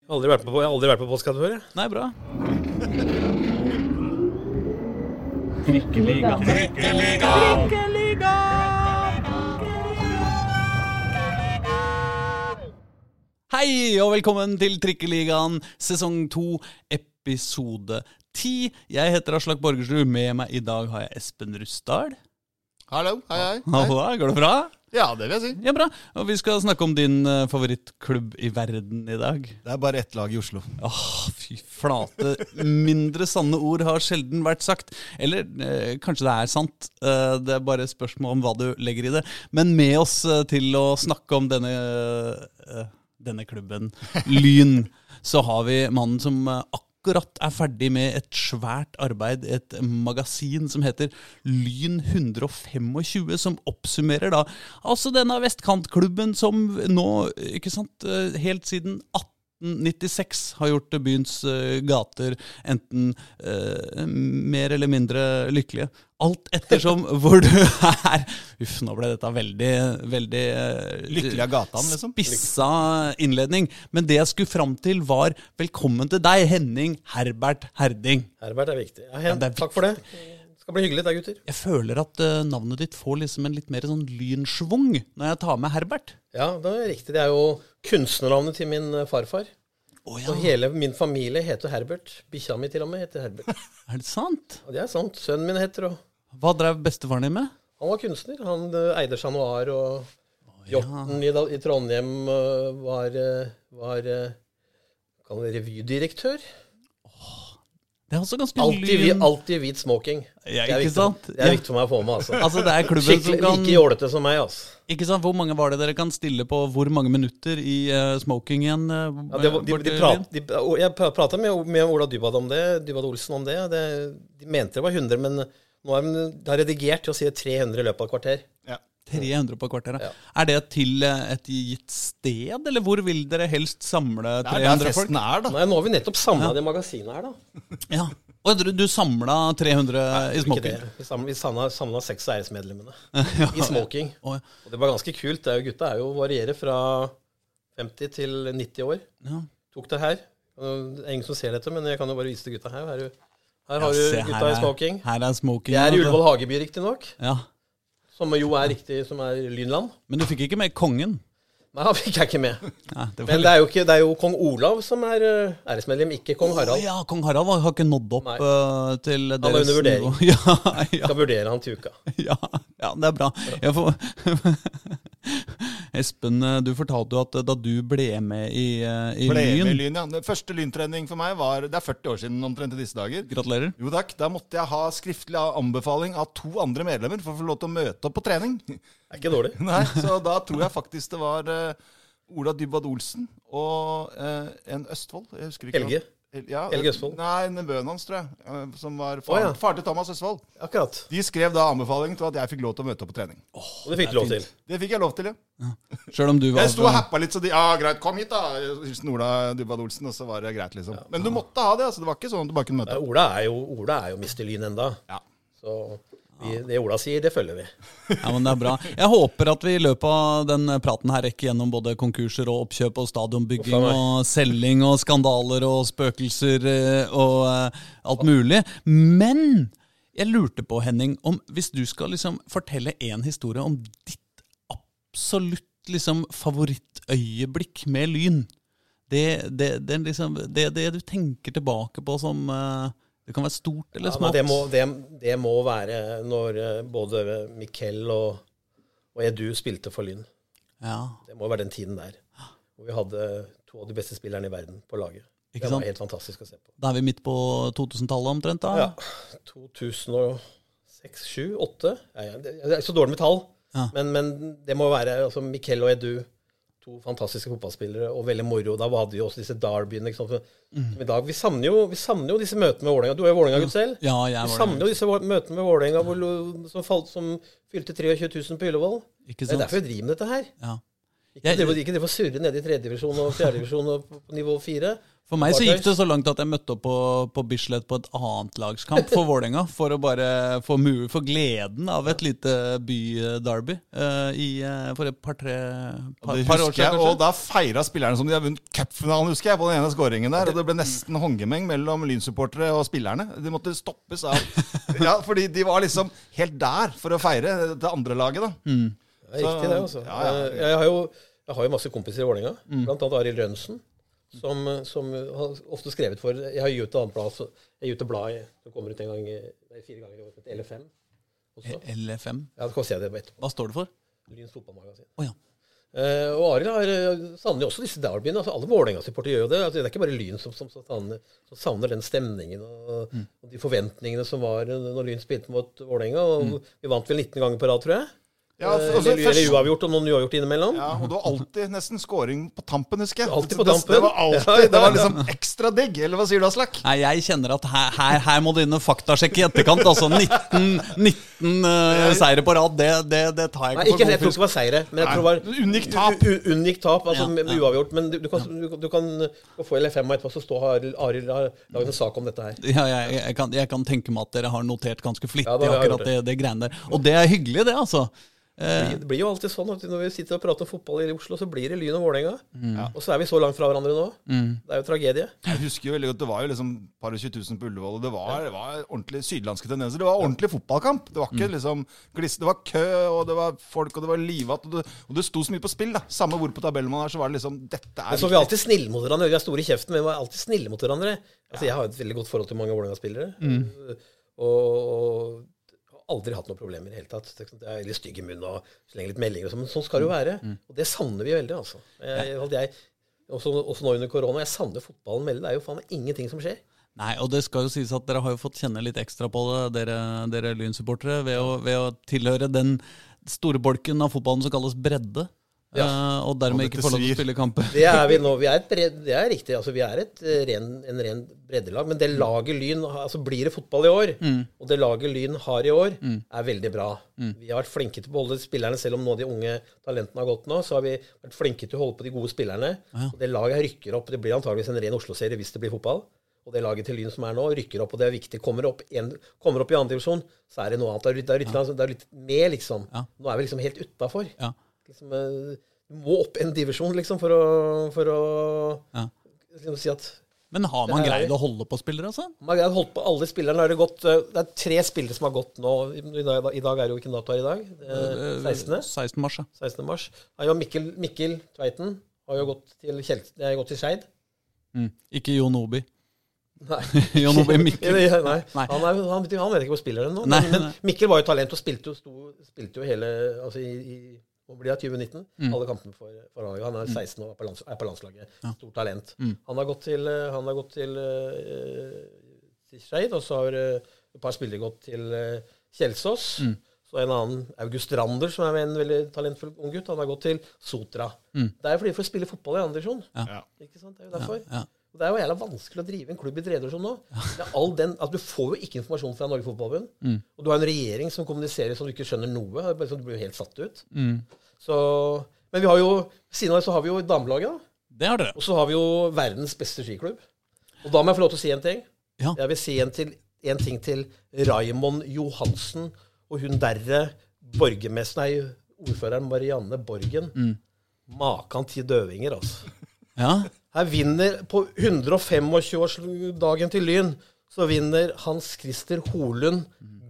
Jeg har aldri vært på, jeg har aldri vært på postkassa før, jeg. Nei, bra. Hei, og velkommen til Trikkeligaen sesong 2, episode 10. Jeg heter Aslak Borgersrud. Med meg i dag har jeg Espen Rustad. Hallo, hei, hei. hei. Halla, går det bra? Ja, det vil jeg si. Ja, bra. Og vi skal snakke om din eh, favorittklubb i verden i dag. Det er bare ett lag i Oslo. Åh, fy flate. Mindre sanne ord har sjelden vært sagt. Eller eh, kanskje det er sant. Eh, det er bare et spørsmål om hva du legger i det. Men med oss eh, til å snakke om denne, eh, denne klubben, Lyn, så har vi mannen som eh, akkurat er ferdig med et svært arbeid, et magasin som heter Lyn 125, som oppsummerer da altså denne vestkantklubben som nå, ikke sant, eh, helt siden 18 1996 har gjort byens eh, gater enten eh, mer eller mindre lykkelige. Alt ettersom hvor du er. Uff, nå ble dette veldig, veldig eh, Lykkelig av gatan, liksom. Spissa innledning. Men det jeg skulle fram til, var velkommen til deg, Henning Herbert Herding. Herbert er viktig. Ja, Hen, det er Takk for det. Det skal bli hyggelig, da, gutter. Jeg føler at eh, navnet ditt får liksom en litt mer sånn lynsvung når jeg tar med Herbert. Ja, det er riktig. Det er jo kunstnernavnet til min eh, farfar. Å Og ja, hele min familie heter Herbert. Bikkja mi til og med heter Herbert. er det sant? Og det er sant. Sønnen min heter og Hva drev bestefaren din med? Han var kunstner. Han eh, eide Chat Noir og Jåtten i, Dal- i Trondheim eh, var, eh, var eh, Kall det revydirektør. Det er også ganske Alltid, vi, lyn. alltid hvit smoking. Ja, Det er ikke viktig- sant? Det er Ja. viktig for meg å få med, altså. Altså, det er klubben som Skikkelig kan like jålete som meg, altså. Ikke sant, Hvor mange var det dere kan stille på hvor mange minutter i eh, smoking igjen? eh, Ja, det var, de, borte i de byen? prat, de, og jeg prata med, med Ola Dybad om det, Dybad Olsen om det. det de mente det var 100, men nå er de, de har redigert til å si 300 i løpet av et kvarter. 300 på kvarteret. Ja. Er det til eh, et gitt sted, eller hvor vil dere helst samle Det er der 300 folk? festen er, da. Nei, nå har vi nettopp samla det magasinet her, da. Ja. Og du, du samla 300 i Ikke det. smoking? Vi samla, vi samla, samla seks av æresmedlemmene i smoking. Å, ja. Og det var ganske kult. Det er jo, gutta er jo varierer fra 50 til 90 år. Ja. Tok det her. Og Det er ingen som ser dette, men jeg kan jo bare vise til gutta her. Her, er jo- her Ja, har se, du her gutta er- i smoking. Her er smoking. Det er i altså. Ullevål Hageby, riktignok, Ja. som jo er riktig, som er Lynland. Men du fikk ikke med kongen? Nei, han fikk jeg ikke med. Nei, det var Men det er jo, ikke, det er jo kong Olav som er eh, æresmedlem, ikke kong Å Harald. ja, kong Harald var- har ikke nådd opp Nei. eh, til deres er under vurdering. nivå. Ja, ja. Skal vurdere han til uka. Ja, ja, det er bra. Jeg får... Espen, eh, du fortalte jo at eh, da du ble med i, eh, i Ble med i Lyn lyn, ja. Den første lyntrening for meg var Det er 40 år siden omtrent i disse dager. Gratulerer. Jo takk. Da måtte jeg ha skriftlig anbefaling av to andre medlemmer for å få lov til å møte opp på trening. Det er ikke dårlig. Nei, Så da tror jeg faktisk det var eh, Ola Dybwad Olsen og eh, en Østfold. Jeg husker ikke Helge. hva- El- Ja, Helge Østfold. Nei, nevøen hans, tror jeg. eh, Som var Å, far, ja. far til Thomas Østfold. Akkurat. De skrev da anbefaling til at jeg fikk lov til å møte opp på trening. Og det fikk du lov til. Det fikk jeg lov til, ja. Sjøl om du var Jeg sto og happa litt, så de Ja, greit, kom hit, da. Hilsen Ola Dybwad Olsen, og så var det greit, liksom. Men du måtte ha det, altså. Det var ikke sånn at du bare kunne Nei, møte opp. Ola er jo, Ola er jo Mr. Lyn enda. Ja. Så vi, det Ola sier, det følger vi. Ja, men det er bra. Jeg håper at vi i løpet av den praten her rekker gjennom både konkurser og oppkjøp og stadionbygging Uff a meg. og selging og skandaler og spøkelser eh, og eh, alt mulig. Men jeg lurte på, Henning, om hvis du skal liksom fortelle én historie om ditt absolutt liksom favorittøyeblikk med Lyn. Det, det, det, er liksom, det, det du tenker tilbake på som eh, Det kan være stort eller Ja, men smått. det, må, det, det må være når eh, både Mikkel og, og Edu spilte for Lyn. ja, Det må være den tiden der. Ah. Hvor vi hadde to av de beste spillerne i verden på laget. Det ikke var sant? helt fantastisk å se på. Da er vi midt på 2000-tallet omtrent, da? Ja. 2006, 2007, 2008 ja, ja, det- Jeg er så dårlig med tall, Ja. men, men det må være altså, Miquel og Edu. To fantastiske fotballspillere og veldig moro. Da hadde vi også disse derbyene. Ikke sant? Som i dag, vi savner, jo, vi savner jo disse møtene med Vålerenga. Du er jo Vålerenga-gutt selv. Mm. Ja, jeg Vi var savner jo disse vå- møtene med Vålerenga hvor lo- som, falt- som fylte 23 000 på Ullevål. det. Ikke Det er sant? derfor vi driver med dette her. Ja. Ikke Jeg- drive- ikke drive og surre nede i tredjedivisjon og fjerdedivisjon og på nivå fire. For meg så Barclays. gikk det så langt at jeg møtte opp på, på Bislett på et annet lagskamp for Vålerenga. For å bare få mu- få gleden av et lite by-derby eh, i, eh, for et par-tre par, Det par år husker jeg, siden. og kanskje. da feira spillerne som de har vunnet cupfinalen, husker jeg, på den ene skåringen der. Og det ble nesten håndgemeng mellom lynsupportere og spillerne. De måtte stoppes av Ja, fordi de var liksom helt der for å feire det andre laget, da. Det er riktig, det. altså. Ja, Mm. ja. Eh, Jeg, har jo, jeg har jo masse kompiser i Vålerenga, blant annet Arild Rønnsen, som, eh, som har ofte skrevet for Jeg har gitt ut et annet blad, så- jeg gir ut et blad i- som kommer ut en gang i- nei, fire ganger i året, eller fem. Også. LFM. Ja, så kan vi se det etterpå. Hva står det for? Lyns fotballmagasin. Å ja. Eh, og Arild har, eh, savner jo også disse derbyene. Altså, alle Vålerenga-supportere gjør jo det. Altså, det er ikke bare Lyn som, som, som, savner, som savner den stemningen og, Mm. og de forventningene som var eh, når Lyn spilte mot Vålerenga. Og Vi vant vel 19 ganger på rad, tror jeg. Mm. Ja, altså, Eh, og så eller, eller først- uavgjort, om noen uavgjort innimellom. ja, og det var alltid nesten scoring på tampen, husker jeg. Alltid på Det- Det, tampen. var alltid, Ja, ja. det var liksom ekstra digg. Eller hva sier du, Aslak? Nei, jeg kjenner at her, her, her må du inn og faktasjekke i etterkant. Altså 19, 19 eh, seire på rad, det, det, det tar jeg Nei, ikke ikke, for jeg tror god fisk. ikke det var seire, men jeg Nei, tror det var Unikt tap. U- u- Unngikk tap, altså Ja, med- med ja. uavgjort. Men du, du, kan, du, du kan du får LFM og etterpå, så står Arild- Arild har laget en sak om dette her. Ja, jeg, jeg, kan, jeg kan tenke meg at dere har notert ganske flittig Ja, da har jeg akkurat gjort det, det greiene der. Og det er hyggelig, det, altså. Det Eh, blir- Det blir jo alltid sånn at når vi sitter og prater om fotball i Oslo, så blir det Lyn og Vålerenga. Og så er vi så langt fra hverandre nå. Det er jo tragedie. Jeg husker jo veldig godt, Det var jo liksom par og 20 000 på Ullevål, og det var, det var ordentlig sydlandske tendenser. Det var ordentlig fotballkamp. Det var Mm. ikke liksom gliss, Det var kø, og det var folk, og det var livatt. Og det, og det sto så mye på spill. da Samme hvor på tabellen man er, så var det liksom Dette Men er så var vi alltid snille mot hverandre. Vi er store i kjeften, men vi var alltid snille mot hverandre. Altså, Jeg har jo et veldig godt forhold til mange Vålerenga-spillere. Og, og har aldri hatt noen problemer i det hele tatt. Det er litt stygg i munnen og slenger litt meldinger og sånn, men sånn skal det jo være. Og det savner vi veldig, altså. Jeg, jeg, også, også nå under korona. Jeg savner fotballen veldig. Det er jo faen meg ingenting som skjer. Nei, og det skal jo sies at dere har jo fått kjenne litt ekstra på det, dere, dere Lyn-supportere, ved, å- ved å tilhøre den store bolken av fotballen som kalles bredde. eh, og dermed Og dette ikke får lov til svir. å spille kamper. Det er vi nå. Vi er et bred, det er riktig. Altså, vi er et eh, ren, en ren breddelag. Men det laget Lyn har- altså Blir det fotball i år, og det laget Lyn har i år, er veldig bra. Vi har vært flinke til å beholde spillerne, selv om nå de unge talentene har gått nå. Så har vi vært flinke til å holde på de gode spillerne. Og det laget her rykker opp. Det blir antageligvis en ren Oslo-serie hvis det blir fotball. Og det laget til Lyn som er nå, rykker opp, og det er viktig. Kommer opp, en, kommer opp i andre divisjon, så er det noe annet. Da er det- Da er det litt- da er det litt med, liksom. Ja. Nå er vi liksom helt utafor Ja. liksom, eh, du må opp en divisjon liksom, for å, for å Ja. liksom, si at Men har man Det er- greid å holde på spillere, altså? man har greid å holde på alle spillerne. Har det, gått, eh, det er tre spillere som har gått nå. I dag, i dag er det jo hvilken dato er det i dag? Eh, 16. 16. mars, ja. 16. mars. Har jo Mikkel, Mikkel Tveiten har jo gått til, Kjel, eh, gått til Skeid. Mm. Ikke Jon Obi. Nei. Jon Obi Mikkel. Nei, nei. Nei. Han, er, han, betyr- han vet ikke hvor spilleren nå. Nei, Men, men nei. Mikkel var jo talent og spilte jo, sto, spilte jo hele altså i, i hva blir det 2019? Mm. Alle kampene for, for A-laget. Han er 16 og er på, lands, er på landslaget. Ja. Stort talent. Mm. Han har gått til, eh, han har gått til, eh, til Skeid, og så har eh, et par spillere gått til eh, Kjelsås. Mm. Så en annen, August Rander, som er en veldig talentfull ung gutt, han har gått til Sotra. Mm. Det er jo fordi de får spille fotball i andre divisjon. Ja. Ikke sant? Det er jo derfor. Ja. Og Det er jo jævla vanskelig å drive en klubb i tredje divisjon nå. Med all den, at du får jo ikke informasjon fra Norge Fotballforbund. Mm. Og du har en regjering som kommuniserer som du ikke skjønner noe. Det er bare sånn at Du blir jo helt satt ut. Mm. Så, men vi har jo, ved siden av det så har vi jo damelaget, da. Det har dere. Og så har vi jo verdens beste skiklubb. Og da må jeg få lov til å si en ting. Ja. Jeg vil si en, til, en ting til Raimond Johansen og hun derre borgermester, nei, ordføreren Marianne Borgen. Mm. Makan til døvinger, altså. Ja. Her vinner på 125-årsdagen til Lyn, så vinner Hans Christer Holund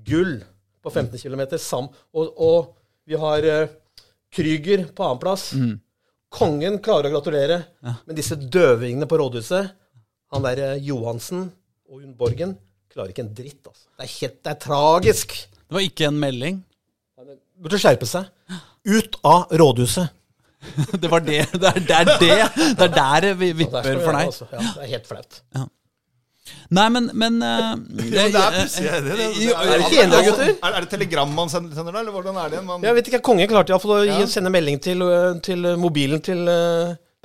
gull på 15 km. Sam, og, og vi har eh, Krüger på annenplass. Mm. Kongen klarer å gratulere, men disse døvingene på rådhuset Han derre Johansen og hun Borgen klarer ikke en dritt, altså. Det er, helt, det er tragisk. Det var ikke en melding. Burde skjerpe seg. Ut av rådhuset. Det var det. Det er, det er det. Det er der det vi Og der skal vipper vi for være, deg. altså. Ja, det er helt flaut. Nei, men, men eh, Men det er pussig. Eh, det- det- det- Jo, er det ikke enig, gutter? Er, er det telegram man sender, sender da, eller hvordan er det? Man, Jeg vet ikke, Kongen klarte iallfall å gi- Ja. sende melding til, ø, til ø, mobilen til, ø,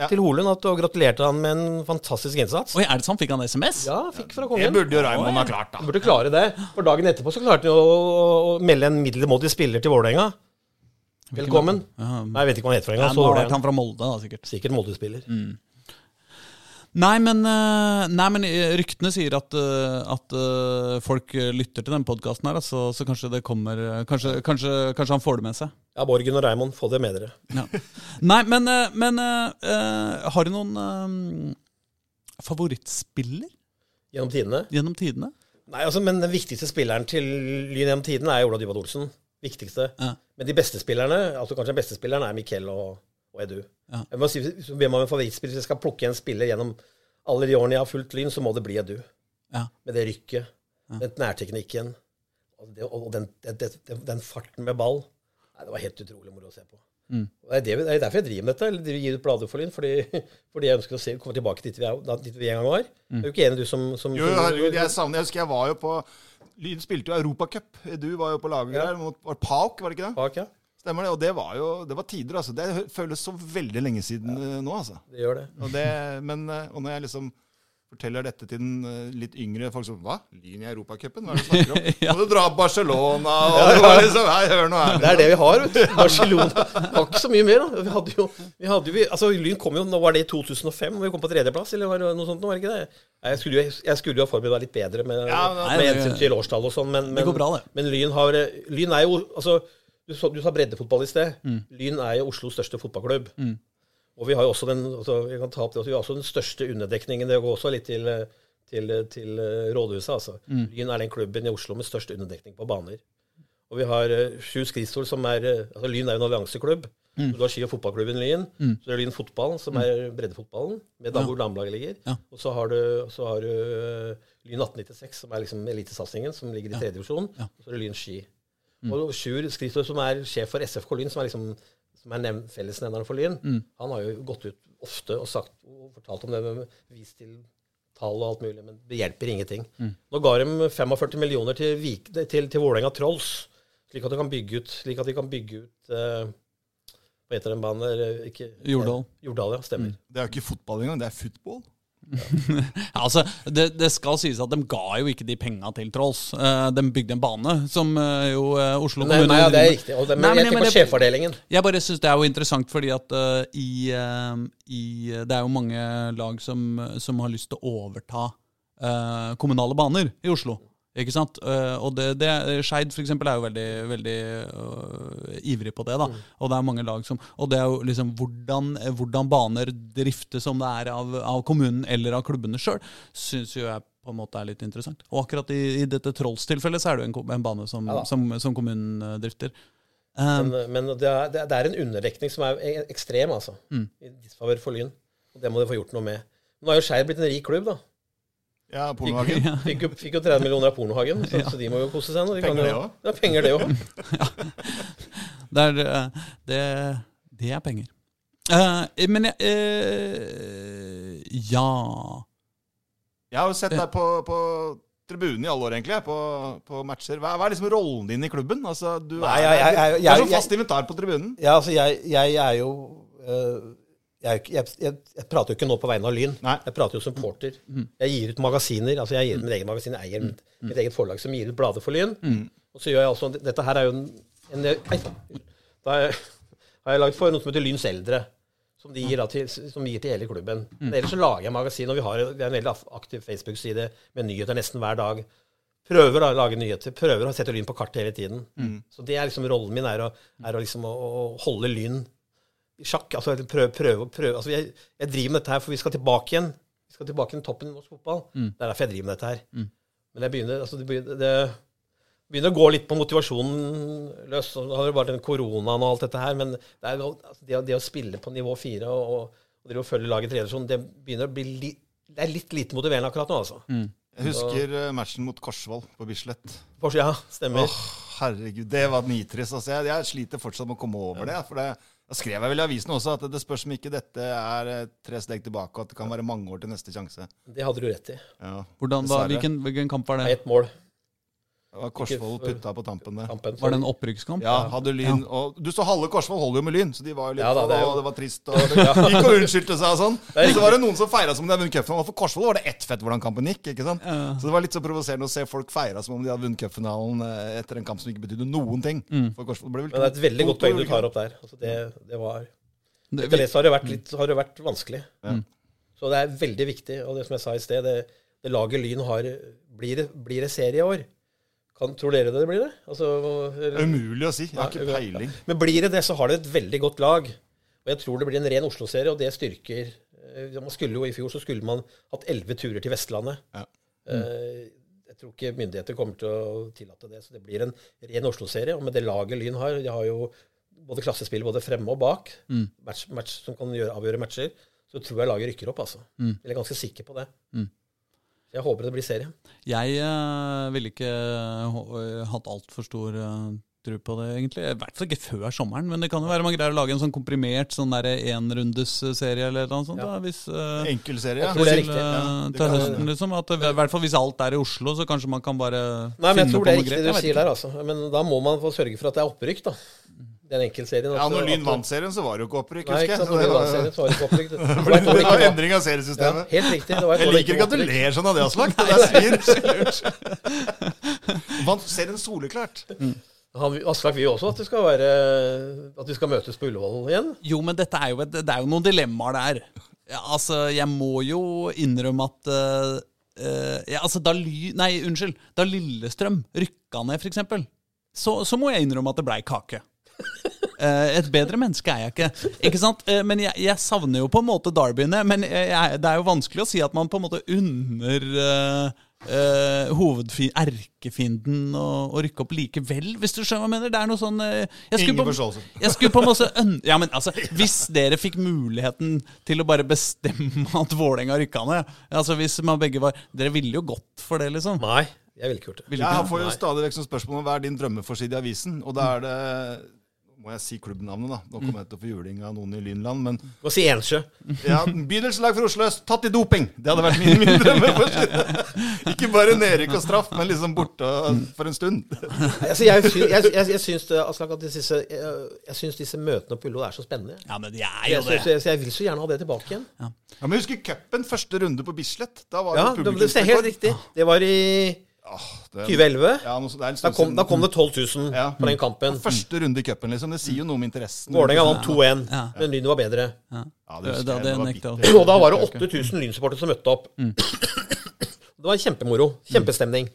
Ja. til Holund at og gratulerte han med en fantastisk innsats. Oi, er det sånn? Fikk han SMS? Ja, fikk fra det kongen. burde jo Raymond ha klart, da. Han burde klare det. For dagen etterpå så klarte han jo å, å- å melde en middelmådig spiller til Vålerenga. Velkommen. Ja, Nei, jeg vet ikke hva han heter for Nei, engang. nå Så har Mm. var vært det han fra Molde, da, sikkert. sikkert Molde-spiller. Nei, men, eh, nei, men eh, ryktene sier at, eh, at eh, folk eh, lytter til denne podkasten, her, da, så, så kanskje det kommer eh, kanskje, kanskje, kanskje han får det med seg. Ja, Borgen og Raymond, få det med dere. Ja. Nei, men, eh, men eh, eh, har du noen eh, favorittspiller Gjennom tidene. gjennom tidene? Nei, altså, men den viktigste spilleren til Lyn gjennom tiden er Ola Dyvald Olsen. Viktigste. Ja. Men de beste spillerne, altså kanskje den beste spilleren, er Mikkel og, og Edu. Ja. Jeg må si, hvis du ber meg om en favorittspiller, hvis jeg skal plukke en spiller gjennom alle de årene jeg har fulgt Lyn, så må det bli Edu. Ja. Med det rykket, den nærteknikken og, det, og den, det, det, den farten med ball. Nei, det var helt utrolig moro å se på. Og Det er, det, vi- det er derfor jeg driver med dette. eller driver- gir ut blader for Lyn. Fordi, fordi jeg ønsker å se, komme tilbake dit vi, er, dit vi en gang var. Er du ikke enig, du som, som Jo, herregud, jeg savner Jeg husker jeg var jo på Lyn spilte jo Europacup. Du var jo på laget der mot var det Pauk, var det ikke det? bak, ja? Stemmer det. Og det var jo Det var tider, altså. Det hø- føles så veldig lenge siden eh, nå, altså. Det gjør det. Og, det, men, eh, og når jeg liksom forteller dette til den eh, litt yngre folk som Hva? Lyn i Europacupen? Hva er det du snakker om? Må du dra på Barcelona? Og det var liksom Nei, hør nå her. Det er det vi har, vet du. Barcelona har ikke så mye mer, da. Vi hadde jo, vi hadde jo vi, Altså, Lyn kom jo Nå var det i 2005, og vi kom på tredjeplass, eller var det noe sånt? nå, var det ikke det? Nei, Jeg skulle, jo, jeg skulle jo ha forberedt meg litt bedre med, Ja, men- med Nei, det- hensyn til årstall og sånn, men, men, Det går bra, det. men Lyn har eh, Lyn er jo Altså, du, sa- du sa breddefotball i sted. Mm. Lyn er jo Oslos største fotballklubb. Og vi har jo også den altså, jeg kan ta opp det, også, vi har også den største underdekningen. Det går også litt til, eh, til, eh, til eh, rådhuset, altså. Mm. Lyn er den klubben i Oslo med størst underdekning på baner. Og vi har eh, Sju Skrisol, som er eh, altså Lyn er jo en allianseklubb. Mm. Så Du har ski- og fotballklubben Lyn. Så det er Lyn fotball, som er breddefotballen, med der hvor damelaget ligger. Ja. Og så har du, så har du eh, Lyn 1896, som er liksom elitesatsingen, som ligger i tredje divisjon. Ja. Mm. Og så er det Lyn ski. Og Sjur Skrisol, som er sjef for SFK Lyn, som er liksom som er nevn- fellesnevneren for Lyn, Mm. han har jo gått ut ofte og sagt og fortalt om det med vist til tall og alt mulig, men det hjelper ingenting. Mm. Nå ga de 45 millioner til, Vik, til, til Vålerenga Trolls, slik at de kan bygge ut, slik at de kan bygge ut eh, Hva heter den banen der? Ikke, eh, Jordal. Mm. Jordal, ja. Stemmer. Det er jo ikke fotball engang, det er football. Ja, altså, det, det skal sies at de ga jo ikke de penga til Trolls. Eh, de bygde en bane, som eh, jo eh, Oslo Nei, kommune nei, ja, det er driver med. riktig. Og det, men Nei, men jeg jeg tenker på mener- sjefavdelingen. Jeg bare syns det er jo interessant, fordi at eh, i, eh, i Det er jo mange lag som, som har lyst til å overta eh, kommunale baner i Oslo. Ikke sant? Eh, og det, det Skeid f.eks. er jo veldig, veldig øh, ivrig på det. da Mm. Og det er mange lag som Og det er jo liksom hvordan, hvordan baner driftes, om det er av, av kommunen eller av klubbene sjøl, syns jo jeg på en måte er litt interessant. Og akkurat i, i dette Trolls-tilfellet så er det jo en, ko- en bane som, Ja da. som, som kommunen eh, drifter. Men, men det, er, det er- det er en underdekning som er e- ekstrem, altså. I disfavør for Lyn. Og det må de få gjort noe med. Nå er jo Skeid blitt en rik klubb, da. Ja, Eh, pornohagen. Fikk jo, fikk jo 30 millioner av Pornohagen, så, så de må jo kose seg nå. De kan Penger det jo- også? Ja, penger det òg. Det er, eh, det, det er penger. Eh, men jeg eh, Ja Jeg har jo sett deg på, på tribunen i alle år, egentlig, jeg, på, på matcher. Hva, hva er liksom rollen din i klubben? Altså, du Nei, er, jeg- jeg- jeg- du er jeg- som fast inventar på tribunen. Ja, altså, jeg, jeg er jo øh, jeg, er jo ikke- jeg, jeg, jeg prater jo ikke nå på vegne av Lyn. Nei. Jeg prater jo som porter. Jeg gir ut magasiner. altså Jeg gir ut mitt eget magasin, jeg eier mitt, mitt eget forlag som gir ut blader for Lyn. Og så gjør jeg altså Dette her er jo en, en ei, Da har jeg, har jeg lagd for noe som heter Lyns eldre. Som de gir, da til, som vi gir til hele klubben. Men ellers så lager jeg magasin, og vi har, vi har en veldig aktiv Facebook-side med nyheter nesten hver dag. Prøver da, å lage nyheter, prøver å sette Lyn på kartet hele tiden. Så det er liksom rollen min, er å, er å, liksom å, å holde Lyn i sjakk. Altså prøve, prøve, prøve. Altså, jeg, jeg driver med dette her, for vi skal tilbake igjen. Vi skal tilbake til toppen i norsk fotball. Mm. Det er derfor jeg driver med dette her. Men jeg begynner, altså, det, begynner, det begynner å gå litt på motivasjonen løs. Og da har det bare den koronaen og alt dette her. Men det, er, jo- altså, det, å- det å spille på nivå fire og, og, og drive og følge laget i tredje divisjon, det begynner å bli li, det er litt lite motiverende akkurat nå, altså. Mm. Jeg husker eh, matchen mot Korsvoll på Bislett. For, ja, stemmer. Åh, herregud, det var nitrist. Altså, jeg, jeg sliter fortsatt med å komme over det. For det da skrev jeg vel i avisen også at det spørs om ikke dette er eh, tre steg tilbake, og at det kan være mange år til neste sjanse. Det hadde du rett i. Ja, Hvordan, hva, dessverre. hvilken, hvilken kamp var Det er det? ett mål. Det var Korsvoll putta på tampen der. Kampen. Var det en opprykkskamp? Ja, hadde lyn og Du så halve Korsvoll holder jo med lyn, så de var jo litt Ja da, det er jo- Og det var trist, og det gikk og unnskyldte seg og sånn. er Men så var det noen som feira som om de hadde vunnet cupfinalen. og For Korsvoll var det ett fett hvordan kampen gikk, ikke sant. Så det var litt så provoserende å se folk feire som om de hadde vunnet cupfinalen eh, etter en kamp som ikke betydde noen ting. For Korsvoll ble vel Mm. Men det er et veldig godt poeng du tar opp der. Altså, det, det var Det- Mm. Etter det så har det vært, litt, så har det vært vanskelig. Så det er veldig viktig. Og det som jeg sa i sted, det, det laget Lyn har Blir det, blir det serie i år? Kan, tror dere det blir det? Altså, Umulig å si. Jeg har ikke peiling. men blir det det, så har det et veldig godt lag. Og jeg tror det blir en ren Oslo-serie, og det styrker eh, Man skulle jo i fjor så skulle man hatt elleve turer til Vestlandet. Ja. Eh, Jeg tror ikke myndigheter kommer til å tillate det, så det blir en ren Oslo-serie. Og med det laget Lyn har, de har jo både klassespill både fremme og bak, Mm. match, match som kan gjøre, avgjøre matcher, så tror jeg laget rykker opp, altså. Mm. Eller jeg er ganske sikker på det. Så Jeg håper det blir serie. Jeg eh, ville ikke hå- hatt altfor stor eh, tro på det, egentlig. I hvert fall ikke før sommeren, men det kan jo være man greier å lage en sånn komprimert sånn der enrundes-serie eller noe sånt. Da, hvis, eh, Enkel serie. Jeg tror det er til, riktig, ja. eh, Det til kan- høsten, liksom. At det, I hvert fall hvis alt er i Oslo, så kanskje man kan bare Nei, men jeg finne tror på det er noe riktig greit. det Jeg du vet sier der, altså. Men da må man få sørge for at det er opprykk, da. Den enkeltserien. Ja, at- når Lyn at- vant serien, så var det jo ikke opprykk, Nei, ikke husker jeg. sant. Så Når det Lyn vant serien, var- så var det ikke opprykk. Det var et år Det det var ikke var. endring av Ja, seriesystemet. helt riktig. Det var et Jeg år det liker ikke ikke var at du opprykk. ler sånn av det, Aslak. Det er svir. Vant serien soleklart. Han, Aslak vil jo også at det skal være At vi skal møtes på Ullevål igjen. Jo, men dette er jo et, det er jo noen dilemmaer der. Ja, altså, jeg må jo innrømme at eh, eh, ja, altså, da Ly... Nei, unnskyld. Da Lillestrøm rykka ned, f.eks., så, så må jeg innrømme at det blei kake. Eh, et bedre menneske er jeg ikke. Ikke sant? Eh, men jeg, jeg savner jo på en måte derbyene. Men eh, jeg, jeg, det er jo vanskelig å si at man på en måte unner eh, eh, hovedfi- erkefienden å, å rykke opp likevel, hvis du skjønner hva jeg mener. Det er noe sånn eh, jeg skulle Ingen på- forståelse. jeg skulle på en måte øn... Ja, men altså, Hvis dere fikk muligheten til å bare bestemme at Vålerenga rykka ned altså hvis man begge var... Dere ville jo gått for det, liksom. Nei, jeg ville ikke gjort det. Ville Jeg ikke- får jo stadig vekk sånn spørsmål om hva er din drømmeforside i avisen. Og da er det Må jeg si klubbnavnet, da? Nå kommer jeg til å få juling av noen i Lynland, men Må si Ensjø. Ja, Bydelslag for Oslo øst, tatt i doping! Det hadde vært min, min drømmeforside. Ikke bare nedrykk og straff, men liksom borte for en stund. Altså, jeg, sy- jeg, jeg, jeg syns det, Aslak, at disse, jeg, jeg syns disse møtene på Ullevål er så spennende. Ja, men de er Jeg, jo det. syns- jeg, så jeg vil så gjerne ha det tilbake igjen. Ja, men husker cupen, første runde på Bislett. Da var Ja, det det, det er helt publikumsrekord. riktig. Det var i Åh, det- 2011. Ja, noe, så- det er en Da stund kom, siden. da kom det 12 000 Ja. på den kampen. Første runde i cupen, liksom. Det sier jo noe om interessen. Vålerenga vant 2-1, Ja. men Lyn var bedre. Ja, Det, husker det, jeg, det var nekter bittert. jeg. Og da var det 8000 Lyn-supportere som møtte opp. Mm. Det var kjempemoro. Kjempestemning.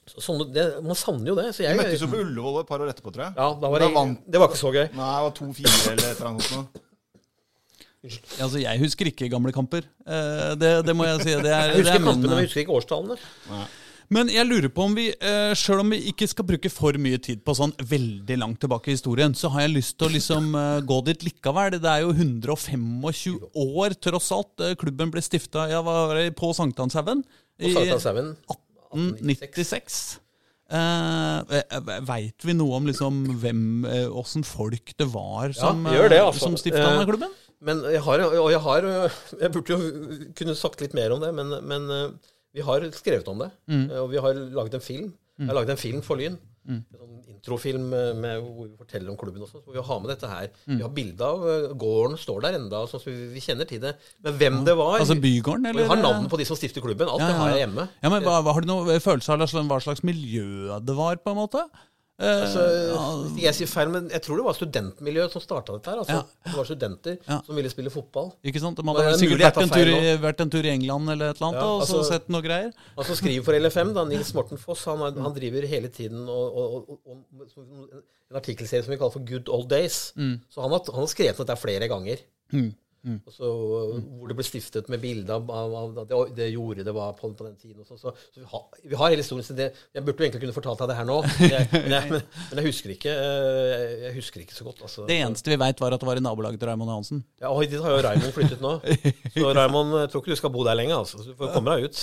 Så, sånn, det, man savner jo det. Så jeg, Vi møttes jo på Ullevål et par år etterpå, tror jeg. ja, da var Da jeg, vant- det var ikke så gøy. Nei, det var 2-4 eller et eller annet sånt. nå. Altså, jeg husker ikke gamle kamper. Eh, det, det må jeg si. Det Jeg er, det er husker min, kampene, men eh, jeg husker ikke årstallene. Men jeg lurer på om vi, eh, sjøl om vi ikke skal bruke for mye tid på sånn veldig langt tilbake i historien, så har jeg lyst til å liksom eh, gå dit likevel. Det er jo 125 år, tross alt. Eh, Klubben ble stifta ja, hva var det, på Sankthanshaugen. På Sankthanshaugen. 1896. Eh, Uh, Veit vi noe om liksom hvem, eh, åssen folk det var som, gjør det, eh, altså. som stifta denne Eh, klubben? Men jeg har, og jeg har Jeg burde jo kunne sagt litt mer om det, men, men eh, vi har skrevet om det. Mm. eh, Og vi har laget en film. Jeg har laget en film for Lyn. En sånn introfilm med, hvor vi forteller om klubben også. Så vi har med dette her. Mm. Vi har bilde av eh, gården står der enda, sånn som vi, vi kjenner til det. Men hvem det var Altså bygården, og eller? Vi har navn på de som stifter klubben. Alt det har jeg hjemme. Ja, men hva, hva- Har du noen følelse av liksom, hva slags miljø det var, på en måte? Eh, Så, hvis ikke jeg sier feil, men jeg tror det var studentmiljøet som starta dette her. Altså. Ja. Det var studenter Ja. som ville spille fotball. ikke sant? Man Men hadde det er sikkert mulig jeg vært en, tar feil tur i, vært en tur i England eller et eller annet, Ja, da, og så altså- sett noe greier. Han som skriver for LFM, da, Nils Morten Foss, han, er- han driver hele tiden og, og, og, og, og en artikkelserie som vi kaller for Good Old Days. Så han har, han har skrevet dette flere ganger. Og så, øh, Hvor det ble stiftet med bilde av, av, av det, det jordet det var på, på den tiden. Og så, så, så vi, har, vi har hele historien. Så det, jeg burde jo egentlig kunne fortalt deg det her nå, men jeg, men jeg, men, men jeg husker ikke eh, Jeg husker ikke så godt. Altså. Det eneste vi veit, var at det var i nabolaget til Raymond Hansen. Ja, og dit har jo Raymond flyttet nå. Så Raymond, jeg tror ikke du skal bo der lenge. Altså. Så Du får komme deg ut.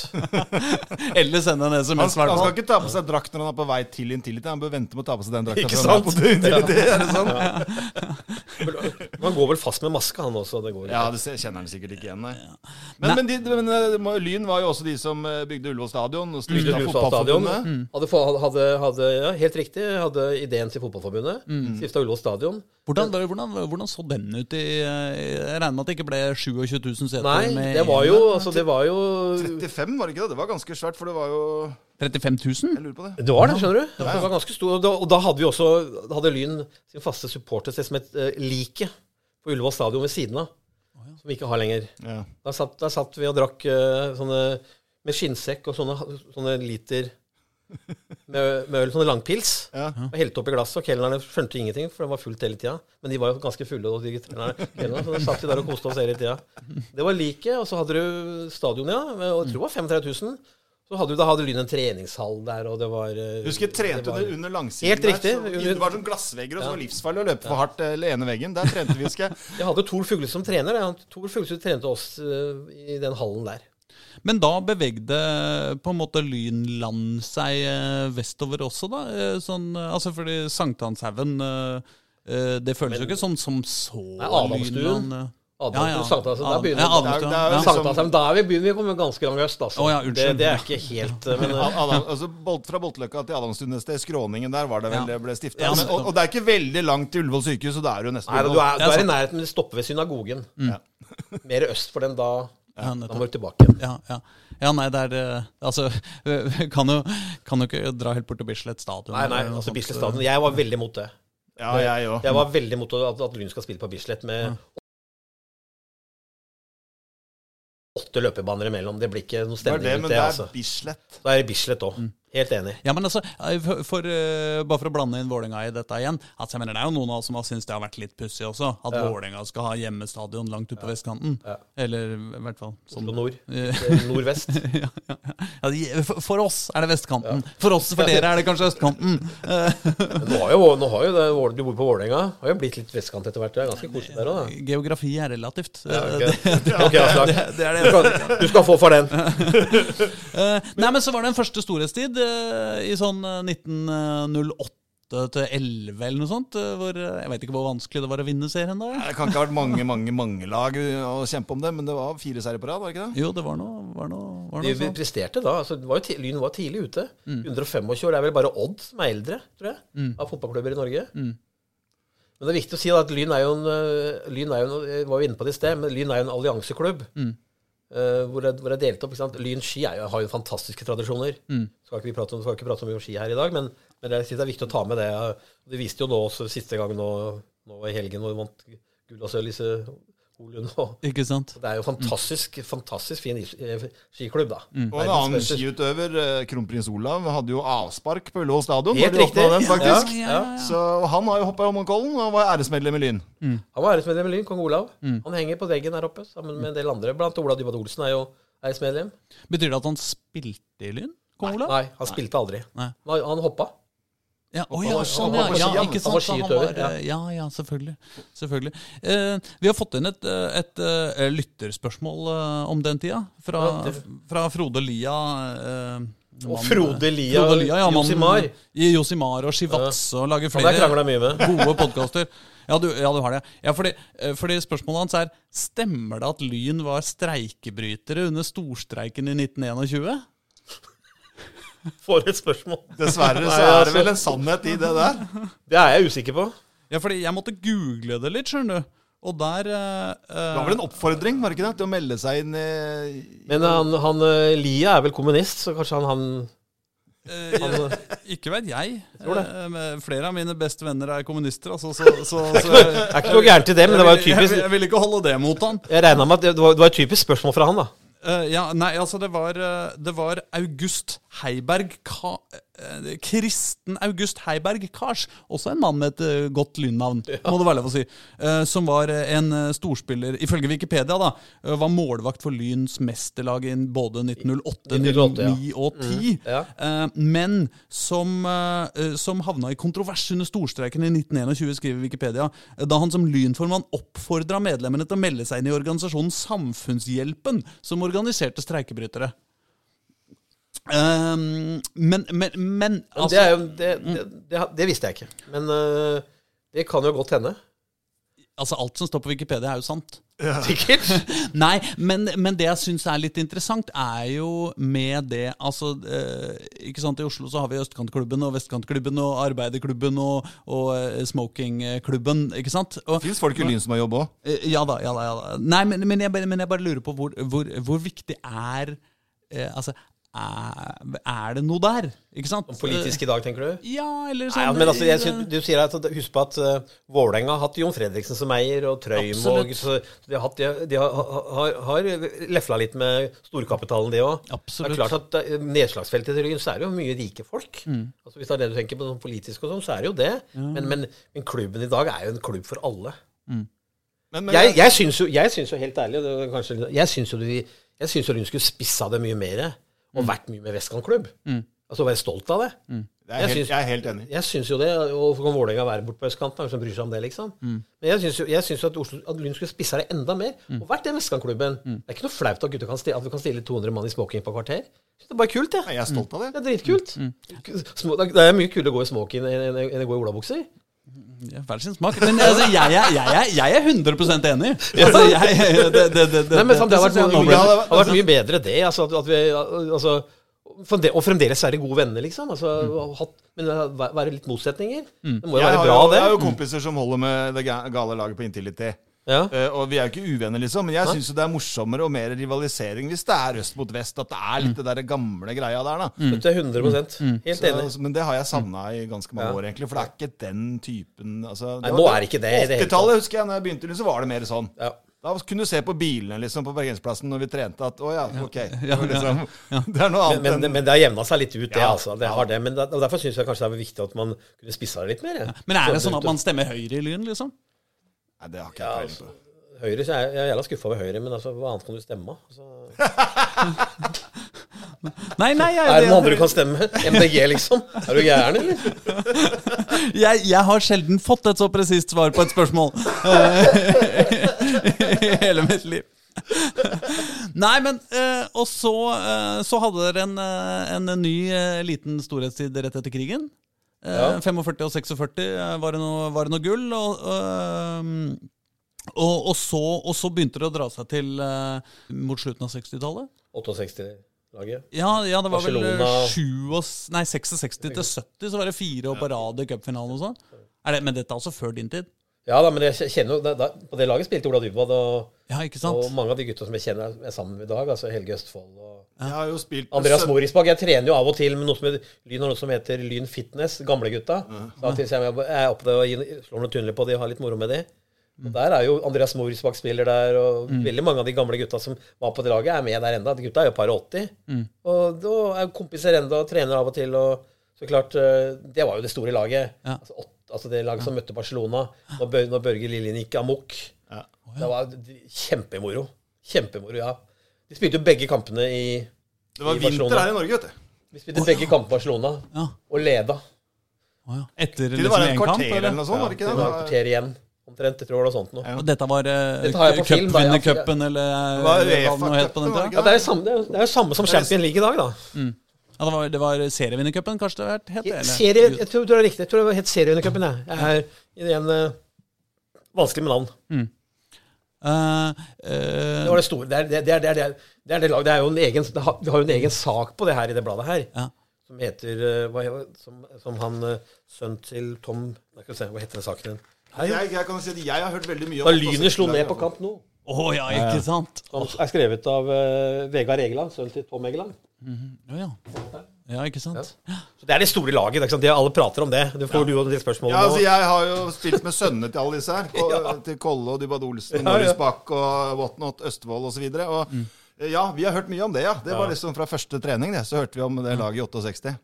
Eller sende en Han, SMS, i han hvert skal fall. ikke ta på seg drakt når han er på vei til Intility. Han bør vente med å ta på seg den drakta. Ikke før han er på sant? Intility, er det sant? Han går vel fast med maske, han også. Det går ikke. Ja, det ser- kjenner han sikkert ikke igjen, nei. Men, men, de, men eh, må- Lyn var jo også de som eh, bygde Ullevål stadion. Og Bygde stifta Ullevål stadion. Mm. fotballforbundet. Hadde, få- hadde, hadde, ja, helt riktig, hadde ideen til Fotballforbundet. Stifta Ullevål stadion. Hvordan, hvordan, hvordan så den ut? I, eh, jeg regner med at det ikke ble 27 000 seter? Nei, med det var jo altså, Det var jo 35, var det ikke det? Det var ganske svært, for det var jo 35 000? Jeg lurer på det. det var det, skjønner du. Det var ganske stor, og da, og da hadde vi også da hadde Lyn sin faste supportersted som het eh, Liket på Ullevål stadion ved siden av. som vi ikke har lenger. Ja. Da satt, da satt vi og drakk eh, sånne med skinnsekk og sånne, sånne liter med, med øl, sånne langpils. Ja. Og helte opp i glasset, og kelnerne skjønte ingenting, for det var fullt hele tida. Men de var jo ganske fulle, og de kelnerne, kelnerne, så da satt vi der og koste oss hele tida. Det var liket, og så hadde du stadion, ja, med- og jeg tror det var 35 000. Så hadde du, da hadde Lyn en treningshall der, og det var eh, Husker jeg trente det var- under, under langsiden Helt riktig. der. Så, det var sånn glassvegger, og så Ja. var det livsfarlig å løpe for hardt eh, eller ene veggen. Der trente vi, husker jeg. Jeg hadde Tor Fugle som trener. ja. Tor Fuglesund trente oss eh, i den hallen der. Men da bevegde på en måte Lynland seg eh, vestover også, da? Eh, Sånn, eh, altså fordi Sankthanshaugen eh, eh, Det føles jo ikke som, som så Nei, Adamstuen. eh. Adamstuen, Sankthanshaugen, der Ad- altså. begynner ja, vi. Adamstuen, Det er- det er jo ja. liksom- Sankthanshaugen, da er vi begynner vi å komme ganske langt øst, altså. Å, ja, det, unnskyld. det er ikke helt eh, Men eh, Adam, altså, Bolt- fra Boltløkka til Adamstuen et sted, Skråningen der var det vel Ja. det ble stifta. Ja, og, og det er ikke veldig langt til Ullevål sykehus, så da er du nesten nei, du Ullevål. er, Det er du er i sant. Mm. nærheten, men det stopper ved synagogen. Ja. Mer øst for den, da, Ja, da nettopp. må du tilbake igjen. Ja, ja. ja, nei, det er eh, Altså, vi kan jo, kan jo ikke dra helt bort til Bislett stadion. Nei, nei, eller noe altså sånt, Bislett så- stadion. Jeg var veldig mot det. Ja, jeg òg. Jeg var veldig mot at, at Lyn skal spille på Bislett med åtte løpebaner imellom. Det blir ikke noe Det var det, stemning men ut, det, det altså. er Bislett. Da er det Bislett òg. Mm. Helt enig. Ja, men altså, for, for, eh, Bare for å blande inn Vålerenga i dette igjen. Altså, jeg mener, Det er jo noen av oss som har syntes det har vært litt pussig også. At Ja. Vålerenga skal ha hjemmestadion langt ute på vestkanten. Ja. Eller i hvert fall sånn. Oslo nord. Eh, eh, Nordvest. ja, ja, ja. Ja, for- For oss er det vestkanten. For oss, for dere er det kanskje østkanten. Eh, Men nå har jo, nå har jo det, Vål- du bor på Vålerenga. Har jo blitt litt vestkant etter hvert. Det er ganske koselig der òg, da. Geografi er relativt. Eh, Ok, Ok, Aslak. Det er det. Du skal- Du skal få for den. Eh, nei, men så var det en første storhetstid eh, i sånn eh, 1908 til 11 eller noe sånt. eh, hvor, eh, jeg vet ikke hvor vanskelig det var å vinne serien da. Det kan ikke ha vært mange mange, mange lag eh, å kjempe om det, men det var fire seire på rad, var det ikke det? Jo, det var noe, var noe, var Vi, noe vi sånt. presterte da. Altså, det var jo ti- Lyn var tidlig ute. 125 år er vel bare Odd som er eldre, tror jeg, av fotballklubber i Norge. Men det er viktig å si da at Lyn er jo en, øh, Lyn er jo en jeg var jo inne på det i sted, men Lyn er jo en allianseklubb. øh, hvor, det, hvor det er delt opp. ikke sant? Lyn ski er jo, har jo fantastiske tradisjoner. Skal ikke vi prate om, skal ikke prate så mye om ski her i dag, men, men det, er, det er viktig å ta med det. Det viste jo nå også siste gang nå, nå i helgen, hvor vi vant gull og sølv, Lise Holund og Ikke sant? det er jo fantastisk, fantastisk fin is- eh, skiklubb, da. Mm. Og en Verdens annen beste. skiutøver, eh, kronprins Olav, hadde jo avspark på Ullevål stadion. Helt når de åpnet riktig. Den, faktisk. Ja, ja, ja. Så han har jo hoppa i Holmenkollen og var æresmedlem i Lyn. Han var æresmedlem i Lyn, kong Olav. Mm. Han henger på veggen her oppe sammen med en del andre. Blant annet Ola Dybwad Olsen er jo æresmedlem. Betyr det at han spilte i Lyn? Kong Olav? Nei, han spilte aldri. Nei. Han, han hoppa. Ja, å ja, var- sånn, han ja. var på ja, ski, han. ikke Han sant. var så skitøver, var, eh, ja, ja, selvfølgelig. selvfølgelig. Eh, vi har fått inn et, eh, et, eh, lytterspørsmål eh, om den tida, fra, Ja, det- fra Frode Lia. eh, Og mann- Frode Lia, Frode Lia ja, Josimar. mannen i Josimar og Shivatse og lager Han har jeg flere krangla mye med. gode podkaster. Ja, du- ja, du har det. Ja, fordi, eh, fordi spørsmålet hans er Stemmer det at Lyn var streikebrytere under storstreiken i 1921? For et spørsmål! Dessverre så Nei, er altså- det vel en sannhet i det der. Det er jeg usikker på. Ja, fordi jeg måtte google det litt, skjønner du. Og der eh, eh, Det var vel en oppfordring var det ikke det, til å melde seg inn eh, i Men han, han eh, Lia er vel kommunist, så kanskje han, han Eh, jeg- ikke vet jeg. tror det. Eh, men Flere av mine beste venner er kommunister, altså, så, så, så jeg, Er ikke noe gærent i det, men det var jo jeg, vil- typisk jeg vil ikke holde det mot han. Jeg regna med at det- det var, det var et typisk spørsmål fra han, da. Eh, ja, nei, altså, det var, eh, det var August Heiberg Ka, eh, Kristen August Heiberg Kars, også en mann med et eh, godt lynnavn, må det være lov å si, eh, som var eh, en eh, storspiller, ifølge Wikipedia, da, eh, var målvakt for Lyns mesterlag i både 1908, 1908, 1909 ja. og 10, Mm. ja. eh, men som, eh, eh, som havna i kontrovers under storstreiken i 1921, skriver Wikipedia, eh, da han som lynformann oppfordra medlemmene til å melde seg inn i organisasjonen Samfunnshjelpen, som organiserte streikebrytere. Eh, men, men, men Men altså, det, er jo, det, det, det, det visste jeg ikke. Men eh, det kan jo godt hende. altså, alt som står på Wikipedia, er jo sant. Sikkert. Nei, men, men det jeg syns er litt interessant, er jo med det Altså, eh, ikke sant, i Oslo så har vi Østkantklubben og Vestkantklubben og Arbeiderklubben og, og eh, Smokingklubben, ikke sant? Og, Fins folk i Lyn som har jobb òg? eh, ja da, ja da. ja da. Nei, men, men, jeg, bare- men jeg bare lurer på hvor, hvor, hvor viktig er eh, Altså, er, er det noe der? Ikke sant? Politisk i dag, tenker du? Eh, Ja, eller Nei, sånn men altså, jeg i- synes, du sier at, at- husk på at eh, Vålerenga har hatt Jon Fredriksen som eier, og Trøym Absolutt. og så De har, hatt, de- de har, har, har lefla litt med storkapitalen, de òg. Det Absolutt. er klart at eh, nedslagsfeltet til Ryggen, så er det jo mye rike folk. Mm. Altså, hvis det er det du tenker på sånn politisk og sånn, så er det jo det. Men, men, men klubben i dag er jo en klubb for alle. Men, men, Jeg, jeg, syns jo, jeg syns jo helt ærlig, og det var kanskje, litt- jeg syns jo, de- jeg syns jo Ryggen skulle spissa det mye mer, og Mm. vært mye med Vestkantklubb. Altså være stolt av det. jeg, er jeg helt, syns- jeg er helt enig. Jeg syns jo det, og hvorfor kan Vålerenga være borte på østkanten? Hvem som bryr seg om det, liksom? Mm. Men jeg syns jo, jeg syns jo at, Oslo, at Lund skulle spissa det enda mer, Mm. og vært den vestkantklubben. Det er ikke noe flaut at, gutter kan stille, at vi kan stille 200 mann i smoking på kvarter. Jeg synes Det er bare kult, Nei, jeg. Jeg er stolt av Det det. er dritkult. Mm. Små, det er- det er mye kulere å gå i smoking enn enn- enn å gå i olabukser. Ja, Hver sin smak. Men altså, jeg, er- jeg, er- jeg er 100 enig. Altså, jeg, det, det, det, det, Nei, men sant, det har synes jeg er vært, mye, noble. det Ja, hadde det- vært mye bedre det. Altså, at, at vi, altså, fremde- og fremdeles være gode venner, liksom. Altså, Mm. og hatt, men eh, væ- være litt motsetninger. Det må jo Jeg være bra, har, jo, jeg har jo det. kompiser som holder med det ga- gale laget på Intility. Ja. Eh, og vi er jo ikke uvenner, liksom, men jeg syns det er morsommere og mer rivalisering hvis det er øst mot vest. At det er litt det der gamle greia der, da. Vet du, jeg er Mm. 100 Mm. helt Så, enig. Mm. altså, men det har jeg savna i ganske mange Ja. år, egentlig. For det er ikke den typen altså, Nei, var- nå er det ikke det i det hele 80-tallet husker jeg, når jeg begynte, så var det mer sånn. Ja. Da kunne du se på bilene liksom, på parkeringsplassen når vi trente at å ja, ok. Det, var liksom, det er noe annet Men, men, men det har jevna seg litt ut, det. Ja, altså. Det har det. Men der- og derfor syns jeg kanskje det er viktig at man kunne spissa det litt mer. jeg. Men er det sånn at man stemmer høyre i Lyn, liksom? enn Nei, det har ikke jeg peiling på. Høyre, så er jeg, jeg er jævla skuffa over Høyre, men altså, hva annet kan du stemme? av? Altså, Nei, nei, jeg, er det noen andre du kan stemme? MDG, liksom? Er du gæren, eller? jeg, jeg har sjelden fått et så presist svar på et spørsmål eh, i hele mitt liv. Nei, men eh, Og så, eh, så hadde dere en, eh, en ny eh, liten storhetstid rett etter krigen. Eh, Ja. 45 og 46 eh, var det noe, var det noe gull. Og, eh, og, og, så, og så begynte det å dra seg til eh, mot slutten av 60-tallet. 68-laget. Ja, ja, det var Barcelona. vel eh, sju og, s- nei, 66 til 70, så var det fire år på rad i cupfinalen og sånn. Er det- Men dette er altså før din tid? Ja da, men jeg kjenner jo da, da, På det laget spilte Ola Dybwad, og, Ja, ikke sant? og mange av de gutta som jeg kjenner, er sammen med i dag. Altså Helge Østfold og Jeg har jo spilt Andreas Morisbakk. Jeg trener jo av og til med noe som heter Lyn har noe som heter Lyn Fitness, gamlegutta. Så av og til så er jeg- jeg er oppe der og gir- slår noen tunneler på de, har litt moro med de. Og der er jo Andreas Morisbakk spiller der, og veldig mange av de gamle gutta som var på det laget, er med der enda. De gutta er jo par og 80. Og da er jo kompiser enda og trener av og til, og så klart eh, Det var jo det store laget. Ja. Altså, åt- altså det laget som møtte Barcelona når, Bør når Børge Lillien gikk amok. Ja. Det var kjempemoro. Kjempemoro, ja. De spilte jo begge kampene i Det var i vinter Barcelona. her i Norge, vet du. vi spilte begge kamper på Barcelona, Ja. og leda. Å ja. Etter Til det var liksom én et kamp? kvarter eller Eller? noe sånt, var det Det var et ikke det? kvarter igjen, omtrent. Jeg tror det var noe sånt nå. Ja. Og dette var eh, Dette har jeg på film, da, ja, for jeg- cupvinnercupen, eller eh, hva var det nå het på UEFA-cupen, den var det tida? Ja, det er jo samme, det er jo- det er jo samme som Champion League i dag, da. Ja, det var, det var serievinnercupen, kanskje det het? eller? Serie, jeg tror det er riktig. Jeg tror det var helt serieundercupen, jeg. Jeg er igjen eh, vanskelig med navn. Eh, Det, eh, var det, store, det, er, det, er, det, er, det, er, det er det lag- Det er jo en egen, det har, vi har jo en egen sak på det her i det bladet her, Ja. som heter eh, hva, som, som han eh, sønnen til Tom Nei, skal vi se, Hva heter den saken? Hei, Jeg, jeg kan si at jeg har hørt veldig mye da om lynet slo ned på Kamp nå. Å ja, ikke sant? Som er skrevet av eh, Vegard Egeland, sønnen til Tom Egeland. Ja, ja. ja ikke sant? Så Det er det store laget. Ikke sant? De alle prater om det. Du får du og de spørsmålene Ja, altså nå. Jeg har jo spilt med sønnene til alle disse her. Ko- Til Kolle og Dybad Olsen, Ja, Mm. ja. Norris Bakk og Whatnot, Østfold osv. Og, eh, Ja, vi har hørt mye om det, ja. Det var liksom fra første trening, det. Så hørte vi om det Mm. laget i 68.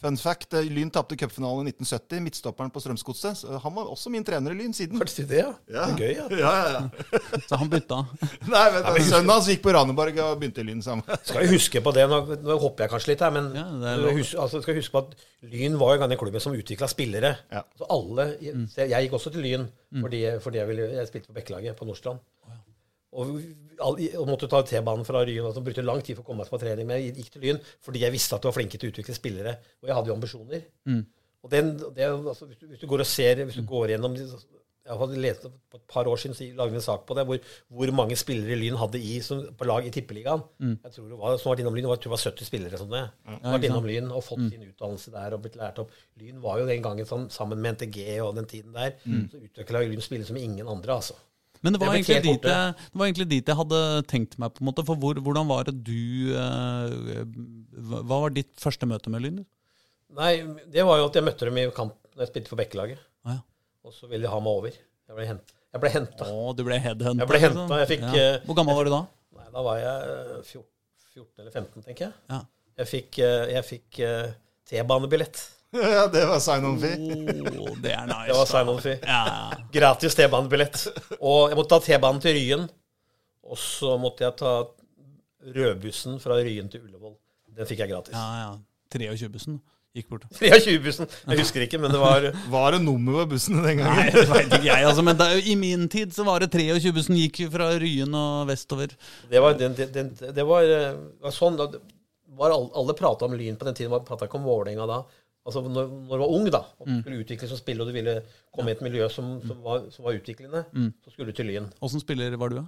Fun fact, eh, Lyn tapte cupfinalen i 1970. Midtstopperen på Strømsgodset. så Han var også min trener i Lyn siden. Hørte du det, ja? Det er gøy, ja. ja, ja, ja. Så han bytta. Nei, men Sønnen hans gikk på Raneborg og begynte i Lyn sammen. Skal jo huske på det, nå, nå hopper jeg kanskje litt her, men Ja, du det er lov. hus- altså, skal huske på at Lyn var jo en gang den klubben som utvikla spillere. Ja. Så alle, jeg, jeg gikk også til Lyn fordi, fordi jeg, ville, jeg spilte på Bekkelaget på Nordstrand. Og, all- og måtte ta T-banen fra Ryen. Altså, brukte lang tid for å komme meg på trening, men jeg gikk til Lyn fordi jeg visste at de var flinke til å utvikle spillere. Og jeg hadde jo ambisjoner. Og den, det, er jo- altså, hvis, du, hvis du går og ser Hvis du går gjennom de- Jeg hadde lest for et par år siden så lagde vi en sak på det, hvor, hvor mange spillere Lyn hadde i, som, på lag i Tippeligaen. Jeg tror det var, som har vært innom Lyn, det var- jeg tror det var 70 spillere som det. Som har vært innom Lyn og fått sin utdannelse der og blitt lært opp. Lyn var jo den gangen sånn, sammen med NTG og den tiden der, så utvikla Lyn spillere som ingen andre, altså. Men det Det var, ble egentlig helt dit borte. jeg, det var egentlig dit jeg hadde tenkt meg, på en måte. For hvor, hvordan var det du eh, Hva hva var ditt første møte med Lyn? Nei, det var jo at jeg møtte dem i kamp når jeg spilte for Bekkelaget. Ah, ja. Og så ville de ha meg over. Jeg ble hent- jeg ble henta. Å, du ble headhunta. Ah. Jeg ble hentet, liksom. jeg fikk, eh, Hvor gammel var du da? Nei, da var jeg eh, fjor- 14 eller 15, tenker jeg. Ja. Jeg fikk, eh, jeg fikk eh, T-banebillett. Ja, det var sign on fee. Å, det er nice. Det var da. sign-on-fee. Ja. Gratis T-banebillett. Og jeg måtte ta T-banen til Ryen. Og så måtte jeg ta rødbussen fra Ryen til Ullevål. Den fikk jeg gratis. ja, ja. 23-bussen gikk bort. 23-bussen. Jeg husker ikke, men det var Var det nummer på bussen den gangen? Nei, det vet ikke jeg, altså, men da, i min tid så var det 23-bussen gikk fra Ryen og vestover. Det var, den, den, den, det var, eh, var sånn da, det var alle, alle prata om Lyn på den tiden. Man prata ikke om Vålerenga da. Altså når, når du var ung, da, og Mm. du skulle utvikle som spiller, og du ville komme i et miljø som, som, var, som var utviklende, så skulle du til Lyn. Åssen spiller var du, da?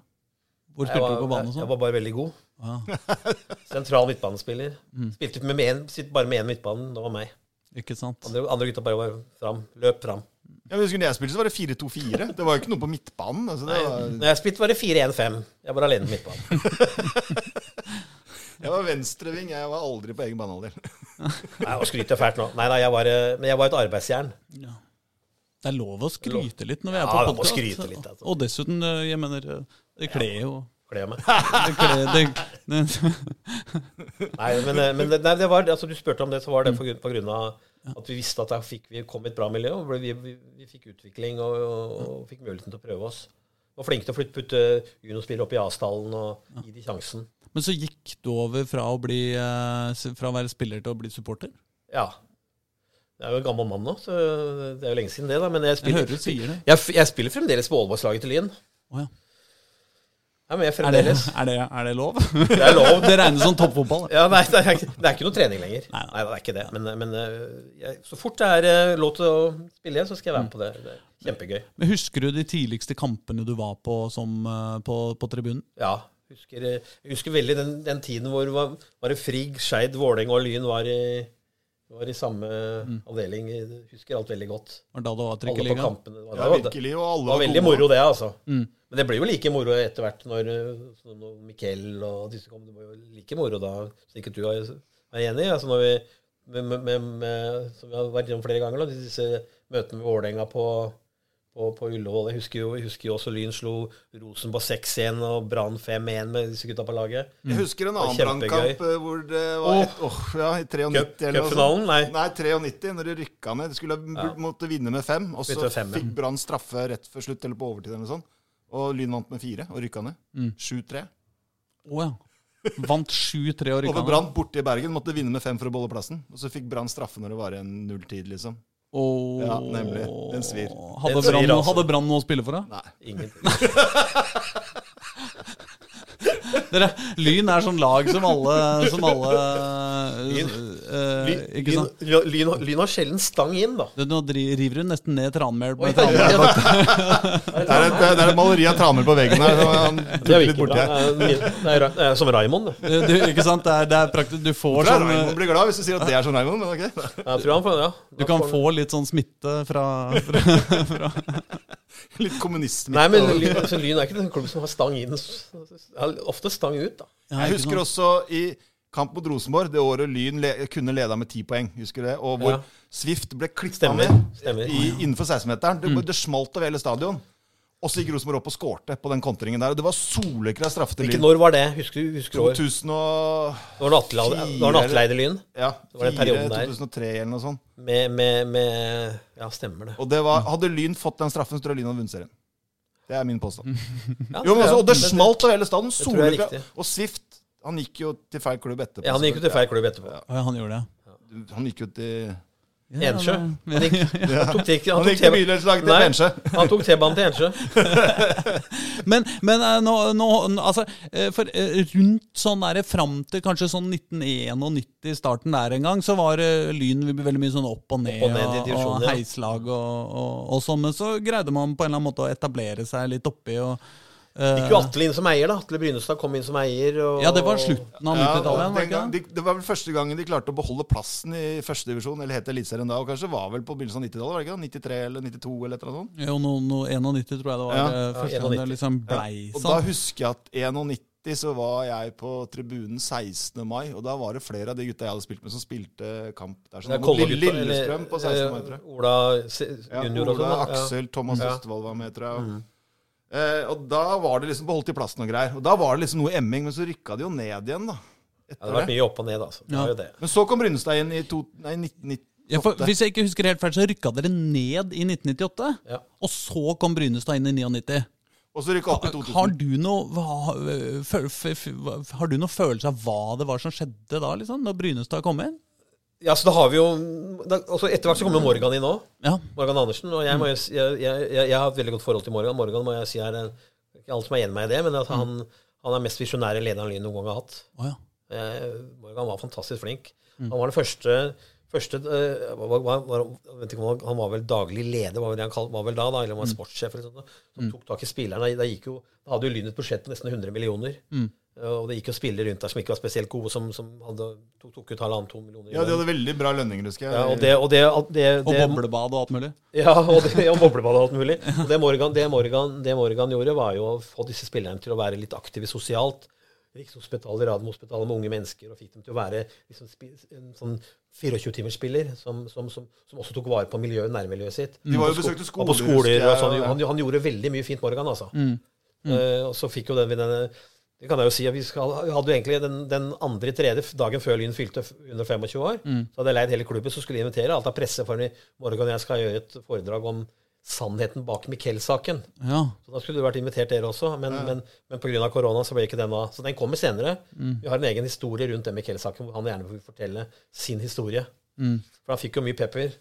Hvor Jeg Mm. spilte var, du på jeg, banen og jeg sånn? var bare veldig god. Ja, Sentral midtbanespiller. Spilte med en, sitt bare med én midtbane. Det var meg. ikke sant? Andre, andre gutta bare var fram. Løp fram. Jeg husker når jeg spilte, så var det 4-2-4. Det var jo ikke noe på midtbanen. Altså, det var, Når jeg spilte, var det 4-1-5. Jeg var alene på midtbanen. jeg var venstreving, jeg var aldri på egen banehalvdel. Nei, og skryter fælt nå. Nei, nei, jeg var, eh, men jeg var et arbeidsjern. Det er lov å skryte litt når vi er Ja, på det er lov å podcast. skryte litt, altså. Og dessuten, eh, jeg mener eh, Det kler jo Kler jeg meg. Det kler det, det, Nei, men, men det, nei, det var, altså, du spurte om det, så var det på grunn, på grunn av at vi visste at der fikk vi kom i et bra miljø. og ble- Vi, vi, vi fikk utvikling og, og, og fikk muligheten til å prøve oss. Var flinke til å flytte putte eh, juniorspillere opp i A-stallen og gi de sjansen. Men så gikk du over fra å, bli, eh, s- fra å være spiller til å bli supporter? Ja. Jeg er jo en gammel mann nå, så det er jo lenge siden det, da. Men jeg Jeg hører spiller, du sier det. jeg, f- jeg spiller fremdeles på Aalborgslaget til Lyn. Å ja. Jeg er med er, det, fremdeles. er, det, er det lov? Det er lov. Det regnes som toppfotball. det. Ja, nei, det er, ikke- det er ikke noe trening lenger. Nei, Nei, nei. det er ikke det. Men, men øh, jeg, så fort det er øh, lov til å spille, så skal jeg være med på det. Det er kjempegøy. Men Husker du de tidligste kampene du var på som, eh, på, på tribunen? Ja. Husker, eh, jeg husker veldig den, den tiden hvor det var, var det Frigg, Skeid, Vålerenga og Lyn var i, var i samme avdeling. Jeg Husker alt veldig godt. Var det da det var Alle på trikkeliga? kampene. Det var, Ja, det var, virkelig, og Mm. alle det var veldig gode. moro, det, altså. Men det ble jo like moro etter hvert når, øh, sånn når Mikkel og disse kom. Det var jo like moro da, så ikke du er er enig. Altså når vi, med, med, med, med, som vi har vært gjennom flere ganger, da, disse møtene med Vålerenga på, på, på Ullevål. Jeg husker jo, jeg husker jo også Lyn slo Rosenborg 6-1 og Brann 5-1 med disse gutta på laget. Jeg husker Mm. en var annen kjempegøy. brannkamp eh, hvor det var et, åh, ja, i 93 eller noe sånt. Cupfinalen? Nei. Nei, 93, når de rykka ned. De skulle burde- måtte vinne med fem, og så Begynte med fem, ja. fikk Brann straffe rett før slutt, eller på overtid, eller noe sånt. Og Lyn vant med fire, og rykka ned. Mm. 7-3. Å ja. Vant 7-3 og Over rykka ned. Brann borte i Bergen måtte vinne med fem for å beholde plassen. Og så fikk Brann straffe når det var en nulltid, liksom. Å. Ja, nemlig. Den svir. Hadde Den svir, Brann noe- altså. hadde Brann noe å spille for, da? Nei. Ingenting. Dere, Lyn er sånn lag som alle, som alle Lyn. eh, Lyn, Ikke sant? lyn, lyn, lyn har sjelden stang inn, da. Du, nå dri- river hun nesten ned Tranmere. Oi, med Tranmere. Det er et, det er et maleri av Tranmere på veggen her. så Han Det er tok jo litt ikke borti bra. her. Det er, det er, det er som Raymond. det. Du, ikke sant? Det er, det er praktisk. Du Jeg får tror sånn Raymond eh, blir glad hvis du sier at det er som Raymond, men ok. Jeg tror han får, ja. Du Da kan får han- få litt sånn smitte fra, fra Litt kommunisme. Nei, men Lyn, altså, lyn er ikke en klubb som har stang inn. Ja, Ofte stang ut, da. Ja, Jeg ikke husker sant? også i kamp mot Rosenborg, det året Lyn le kunne leda med ti poeng. Husker du det? Og hvor Ja. Swift ble klippa Stemmer. med Stemmer. i, innenfor 16-meteren. Det, det smalt over hele stadion. Og så gikk Rosenborg opp og skårte på den kontringen der. Og det var soleklar straffe til Hvilket Lyn. når var det? Husker du husker du år? 2000 og Det var det Atle- det var det Atleidelyn ja, var den perioden der. 2003 eller noe sånt. med, med, med Ja, stemmer det. Og det var, hadde Lyn fått den straffen, så tror jeg Lyn hadde vunnet serien. Det er min påstand. Mm. Ja, Jo, men altså, og det ja, smalt over hele stadion. tror jeg er Soleklar. riktig. Og Swift han gikk jo til feil klubb etterpå. Ja, han gikk jo til feil klubb etterpå. Å, ja, han gjorde det. Han gikk jo til Ensjø. Ja, Han gikk- han tok til- han Han tok gikk T-banen- til bydelslaget til Nei. Bensjø. han tok T-banen til Ensjø. Men, men eh, nå, nå altså, eh, for eh, rundt sånn der, fram til kanskje sånn 1991, starten der en gang, så var eh, Lyn vi ble veldig mye sånn opp og ned, Opp og ned i og, divisjonen, og ja. heislag og, og, og sånn. Men så greide man på en eller annen måte å etablere seg litt oppi og eh, Gikk jo Atle inn som eier, da. Atle Brynestad kom inn som eier. Og... Ja, det var slutten av Ja, 90-tallet, den var det ikke gang- det? de, det var vel første gangen de klarte å beholde plassen i førstedivisjon, eller het det Eliteserien da, og kanskje var vel på begynnelsen av 90-tallet, var det ikke da? 93 eller 92 eller et eller annet sånt. Jo, no, no, 91 tror jeg det var. Ja. eh, Første gang det liksom blei Og da sånn. husker jeg at 91 1990 så var jeg på tribunen 16. mai, og da var det flere av de gutta jeg hadde spilt med, som spilte kamp Det der. Sånn, er mot Kollegutta, Lille- Lillestrøm på 16. mai, eller, tror jeg. eh, Ola Se- Ja, junior og Ola, sånn. da. Aksel, Thomas Ja. Mm. Østfold var med, tror jeg. Eh, og da var det liksom beholdt i plassen og greier. Og da var det liksom noe emming, men så rykka det jo ned igjen, da. Ja, det har vært mye opp og ned, altså. Det Ja. har jo det. Men så kom Brynestad inn i to, nei, 1990. Ja, for, hvis jeg ikke husker helt feil, så rykka dere ned i 1998. Ja. Og så kom Brynestad inn i 99. Og så rykka opp i 2000. Har du noe hva, føl- f- f- hva- Har du noe følelse av hva det var som skjedde da, liksom? Når Brynestad kom inn? Ja, så da har vi jo da, altså Etter hvert så kommer Morgan inn òg. Ja. Morgan Andersen. Og jeg, må, jo si- jeg, jeg, jeg, jeg har et veldig godt forhold til Morgan. Morgan må jeg si er en- ikke alle som er enig med meg i det, men at han, han er mest visjonære lederen Lyn noen gang har hatt. Å ja. Eh, Morgan var fantastisk flink. Han var den første, første eh, var, var, var, jeg vet ikke om han, han var vel daglig leder, var vel det han kalt, var vel da, da eller han var sportssjef eller sånt, da, som tok tak i spillerne. Da, gikk jo, da hadde jo Lyn et budsjett på nesten 100 millioner. Eh, Og det gikk jo spillere rundt der som ikke var spesielt gode, som, som hadde, tok, tok ut halvannen, to millioner. i Ja, de lønn. hadde veldig bra lønninger, husker jeg. ja, og det, og det, det, Og det, boblebad og alt mulig. ja, og det, og boblebad og alt mulig. Og det, Morgan, det, Morgan, det Morgan gjorde, var jo å få disse spillerne til å være litt aktive sosialt. Rikshospitalet, Radiumhospitalet med unge mennesker, og fikk dem til å være liksom, spi- en sånn 24-timersspiller som, som, som, som også tok vare på miljøet, nærmiljøet sitt. De var jo Og sko- besøkte skoler, Og på husker skoler jeg, og sånn. og- Han, han gjorde veldig mye fint, Morgan, altså. Eh, og så fikk jo den vi denne det kan jeg jo si at vi, skal, vi hadde jo egentlig den, den andre tredje f- dagen før Lyn fylte f- 125 år. Så hadde jeg leid hele klubben, så skulle jeg invitere alt av presse. For i morgen og jeg skal gjøre et foredrag om sannheten bak Miquel-saken. Ja. Så da skulle du vært invitert dere også, men, men, men pga. korona så ble ikke den av. Så den kommer senere. Vi har en egen historie rundt den Miquel-saken, hvor han gjerne vil fortelle sin historie. For han fikk jo mye pepper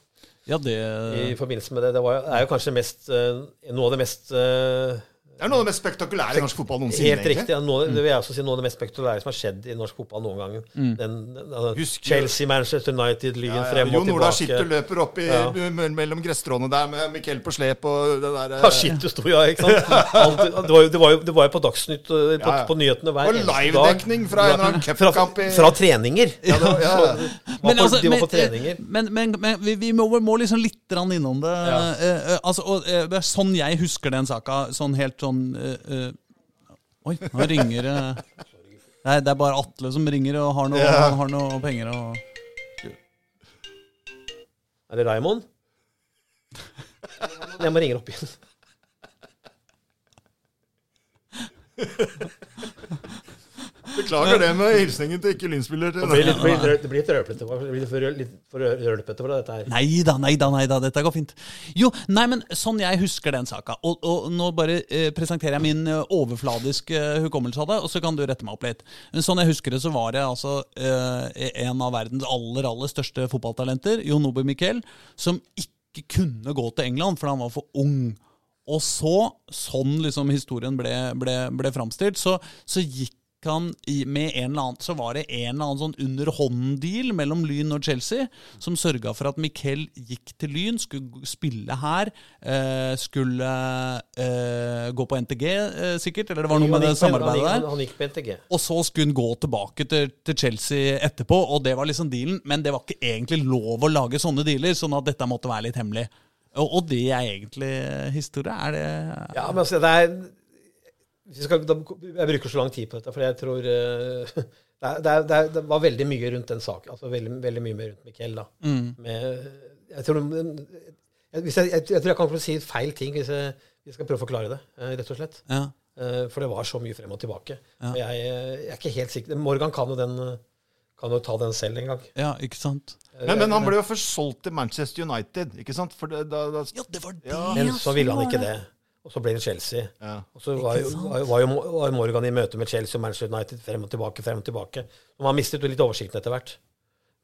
ja, det i forbindelse med det. Det var, jo- er jo kanskje mest, eh, noe av det mest eh, Det er noe av det mest spektakulære i norsk fotball noensinne. Helt egentlig. riktig. ja. Noe, det vil jeg også si noe av det mest spektakulære som har skjedd i norsk fotball noen gang. Mm. Den, den, den, Husker- Chelsea, Manchester United, Lyn Ja, ja. altså, frem og Jon Ola Skittu tilbake. løper opp i, Ja. me- mellom gresstråene der med Mikkel på slep og det der eh, Ja, shit, du sto ja, ikke sant? Alt, det, var jo, det, var jo, det var jo på Dagsnytt, eh, på, Ja, ja. på nyhetene hver Og livedekning fra en eller annen Fra, cupkamp i fra treninger. Ja, det var- ja, ja. Var på, de var på treninger. altså, Men, men, men vi, vi må, må liksom litt grann innom det. Eh, eh, altså, og, eh, det er sånn jeg husker den saka, sånn helt sånn eh, eh, Oi, nå ringer det Nei, det er bare Atle som ringer og har noe, Ja. har noe penger og Er det Raymond? Jeg må ringe opp igjen. Beklager det med hilsningen til ikke Lynspiller. Det til- blir litt, blir litt, det blir litt rølpete det blir litt for røl- litt for røl- rølpete for dette her. Nei da, nei da, nei da, dette går fint. Jo, nei, men sånn jeg husker den saka. Og, og nå bare eh, presenterer jeg min eh, overfladiske eh, hukommelse av det, og så kan du rette meg opp litt. Men sånn jeg husker det, så var det altså eh, en av verdens aller, aller største fotballtalenter, Jon Obi Miquel, som ikke kunne gå til England, for han var for ung. Og så, sånn liksom historien ble, ble, ble framstilt, så, så gikk han i, med en eller annen, så var det en eller annen sånn underhånd-deal mellom Lyn og Chelsea, som sørga for at Miquel gikk til Lyn, skulle g- spille her, eh, skulle eh, gå på NTG eh, sikkert, eller det var noe med det Han gikk på- samarbeidet han, der. gikk- han gikk på NTG. Og så skulle hun gå tilbake til, til Chelsea etterpå, og det var liksom dealen. Men det var ikke egentlig lov å lage sånne dealer, sånn at dette måtte være litt hemmelig. Og, og det er egentlig historie. Er det Ja, men altså, det er hvis vi skal, da, Jeg bruker så lang tid på dette, for jeg tror eh, det, er, det, er, det, er, det var veldig mye rundt den saken. Altså veldig, veldig mye mer rundt Mikkel, da. Mm. Med, jeg tror jeg, hvis jeg, jeg, jeg tror jeg kan si feil ting hvis jeg, hvis jeg skal prøve å forklare det, eh, rett og slett. Ja. Eh, For det var så mye frem og tilbake. Og jeg, eh, jeg er ikke helt sikker Morgan kan jo, den, eh, kan jo ta den selv en gang. Eh, ja, ikke sant? Men, men han ble jo først solgt til Manchester United, ikke sant? For det, da, da, Ja, det var det! altså. Ja. Men ja, så ville han var ikke det. Og så ble det Chelsea. ja. Og så var jo, var, jo- var jo Mo- var jo Morgan i møte med Chelsea og Manchester United frem og tilbake, frem og tilbake. Og man mistet jo litt oversikten etter hvert.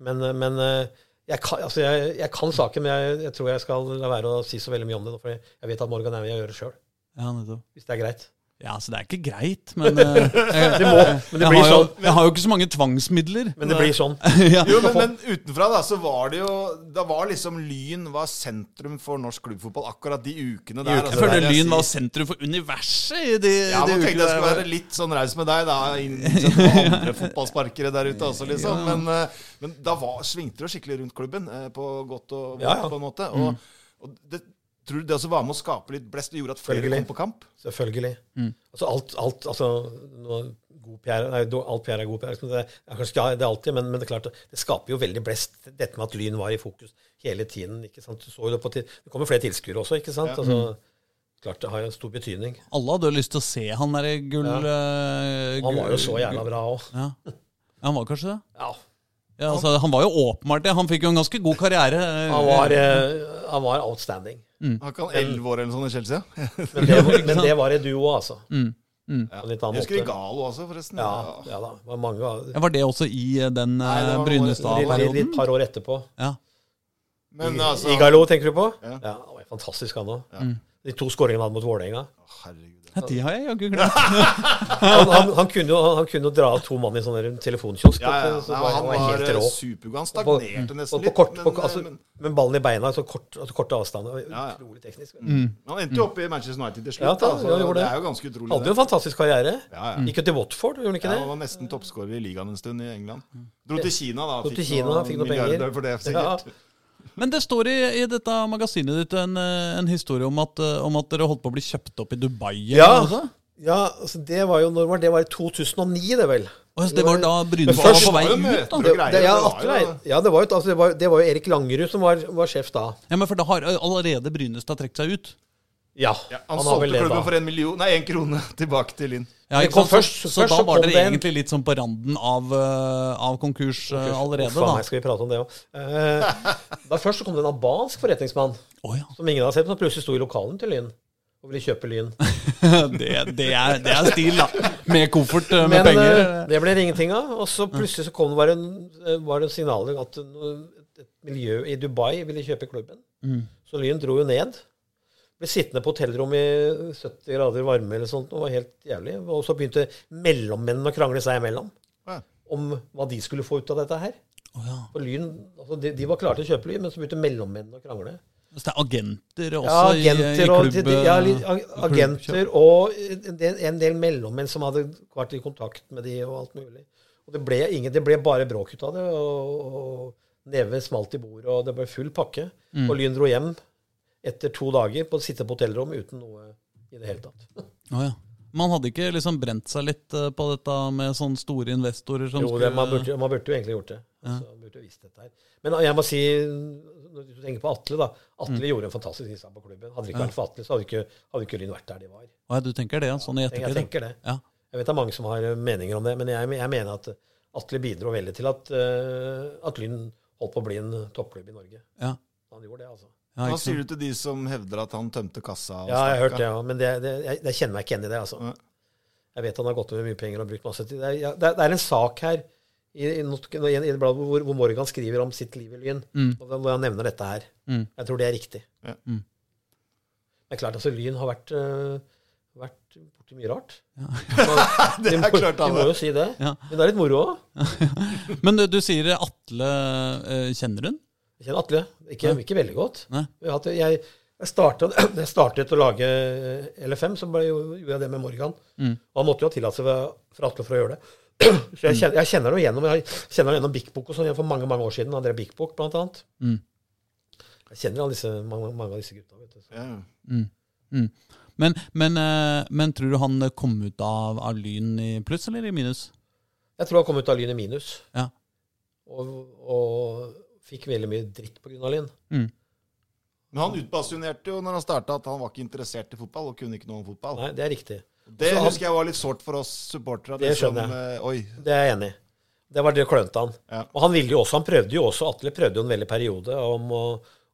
Men, eh, men eh, jeg kan, altså jeg, jeg kan saken, men jeg, jeg tror jeg skal la være å si så veldig mye om det. nå, For jeg- jeg vet at Morgan er med å gjøre det sjøl, Ja, nettopp. hvis det er greit. Ja, altså det er ikke greit, men eh, jeg, Det må, men det jeg, blir har jo, sånn. jeg har jo ikke så mange tvangsmidler. Men det blir sånn. ja. Jo, men, men utenfra da, så var det jo Da var liksom Lyn var sentrum for norsk klubbfotball akkurat de ukene der. Jeg altså, der føler jeg Lyn var sier- sentrum for universet i de, ja, de man tenkte jeg der. skulle være litt sånn raus med deg, da. Innsett på andre fotballsparkere der ute også, liksom. Men, eh, men da var, svingte det jo skikkelig rundt klubben, eh, på godt og vondt, Ja, ja. på en måte. Og, og det Tror du det også var med å skape litt blest og gjorde at flere Følgelig. kom på kamp? Selvfølgelig. Altså alt, alt altså, nå, god PR, nei, da- Alt PR er god PR. liksom, Det er kanskje ikke det alltid, men, men det er klart, det skaper jo veldig blest, dette med at Lyn var i fokus hele tiden. ikke sant? Du så jo Det på til, det kommer flere tilskuere også, ikke sant? Altså, klart det har jo en stor betydning. Alle hadde jo lyst til å se han derre gull... eh, Han var jo gull- så jævla bra òg. Ja. Han var kanskje det? Ja. Ja, altså, han var jo åpenbart det. Han fikk jo en ganske god karriere. eh, Han, var, eh, han var outstanding. Har ikke han elleve år eller noe sånt i Chelsea? Men det, var- men det var i duo, altså. Ja. litt annen Jeg måte. husker Igalo også, forresten. Ja, ja da. Det var mange av Ja, var det også i eh, den Nei, eh, det var noe- Litt, Brynestad-perioden? litt par år etterpå. Ja. Men altså Igalo, tenker du på? Ja. Ja. Mm. Han var fantastisk, han òg. De to skåringene han hadde mot Vålerenga. Herregud. ja, de har jeg jaggu glemt. Han, han, han, kunne jo, han kunne jo dra av to mann i sånn der telefonkiosk. Ja, ja, vet du, så Nei, var- han var var helt rå. supergod. Han På, stagnerte og nesten på litt. kort, på, men, eh, altså, men men ballen i beina, altså, kort, altså korte avstander. Ja, Mm. ja. Utrolig teknisk. han endte jo opp i Manchester United til slutt. Ja, da, altså, ja, gjorde det det. er jo ganske utrolig. Hadde jo det. en fantastisk karriere. Ja, ja. Gikk jo til Watford, gjorde han ikke Ja, det? Eh, han var nesten toppskårer i ligaen en stund i England. Dro til Kina, da. Dro til Kina, fikk noe penger. milliarder for det, sikkert. Ja. Men det står i, i dette magasinet ditt en, eh, en historie om at, eh, om at dere holdt på å bli kjøpt opp i Dubai. eller Ja. noe sånt? Ja, altså det var jo når var det? det var i 2009, det vel. Og altså, det var da Men Brynestad var først på vei var det ut? da. møter. Det, greier, det, ja, det var Atle jo- Eid- ja, det var jo, altså, det var, det var jo Erik Langerud som var, var sjef da. Ja, men for da har eh, allerede Brynestad trukket seg ut. Ja, Ja, han, har vel solgte det klubben da. for en million, nei, en krone tilbake til Linn. Ja, Det ikke kom sant? først- så, så først da så var kom dere det en- egentlig litt sånn på randen av, eh, av konkurs eh, allerede, Uff, faen meg, da. skal vi prate om det òg? da først så kom det en albansk forretningsmann Å ja. som ingen hadde sett, som plutselig sto i lokalen til Lyn og ville kjøpe Lyn. det, det, er, det er stil, da. Med koffert, eh, med Men penger. eh, det ble det ingenting av. Og så Mm. plutselig så kom det bare en, eh, var det signaler at noe- et miljø i Dubai ville kjøpe klubben. Mm. Så Lyn dro jo ned. Ble sittende på hotellrom i 70 grader varme eller sånt. og var helt jævlig. Og så begynte mellommennene å krangle seg imellom Ja. om hva de skulle få ut av dette her. Å ja. For Lyn, altså de, de var klare til å kjøpe Lyn, men så begynte mellommennene å krangle. Så Altså, det er agenter også Ja, i, i agenter, og, klubb... ja, litt eh, ag- klubbkjøp. agenter og en del, en del mellommenn som hadde vært i kontakt med de og alt mulig. Og det ble, ingen, det ble bare bråk ut av det. og, og Neven smalt i bordet, og det ble full pakke. Mm. Og Lyn dro hjem etter to dager på å sitte på hotellrom uten noe i det hele tatt. Å ja. Man hadde ikke liksom brent seg litt eh, på dette med sånne store investorer som Jo, det, man, burde, man burde jo egentlig gjort det. Altså, man burde jo visst dette her. Men jeg må si, når du tenker på Atle, da. Atle Mm. gjorde en fantastisk innsats på klubben. Hadde det ikke vært for Atle, så hadde ikke, hadde ikke Lyn vært der de var. Å ja, du tenker det, ja, sånn i Jeg ettertid? tenker det. ja. Ja. Jeg vet det er mange som har eh, meninger om det, men jeg, jeg mener at eh, Atle bidro veldig til at, eh, at Lyn holdt på å bli en toppklubb i Norge. Ja. Han gjorde det, altså. Ja, Hva ikke sant. sier du til de som hevder at han tømte kassa? og Ja, jeg har stakk hørt av? det, ja. men det, det, jeg, jeg kjenner meg ikke igjen i det. altså. Nei. Jeg vet han har gått med mye penger og brukt masse tid. Det er, ja, det er, det er en sak her i, i, not- i det bladet hvor, hvor Morgan skriver om sitt liv i Lyn, og da- hvor han nevner dette her. Mm. Jeg tror det er riktig. Ja. Men klart, altså, Lyn har vært, eh, vært borti mye rart. Det er Vi klart han må er. jo si det. Ja. Men det er litt moro òg. Men du, du sier Atle eh, Kjenner hun? Jeg kjenner Atle. Ikke, ikke veldig godt. Nei. Jeg, hadde- jeg, jeg, startet, jeg startet å lage eh, LFM, så ble, gjorde jeg det med Morgan. Mm. Og han måtte jo ha tillatelse fra- fra Atle for å gjøre det. Så Mm. jeg kjenner, jeg kjenner ham gjennom, jeg kjenner ham gjennom Big Book og sånn, for mange mange år siden. Han drev Big Book, blant annet. Mm. Jeg kjenner alle disse, mange, mange av disse gutta. Vet du. Så. Ja. Men, men, eh, men tror du han kom ut av, av Lyn i pluss eller i minus? Jeg tror han kom ut av Lyn i minus, Ja. og, og fikk veldig mye dritt på grunn av Lyn. Men han utbasunerte jo når han starta at han var ikke interessert i fotball og kunne ikke noe om fotball. Nei, det er riktig. Det Så han- husker jeg var litt sårt for oss supportere. Det som, skjønner eh, Oi. Det er jeg enig i. Det var det klønete han. Ja. Og han ville jo også, han prøvde jo også, Atle prøvde jo en veldig periode om å,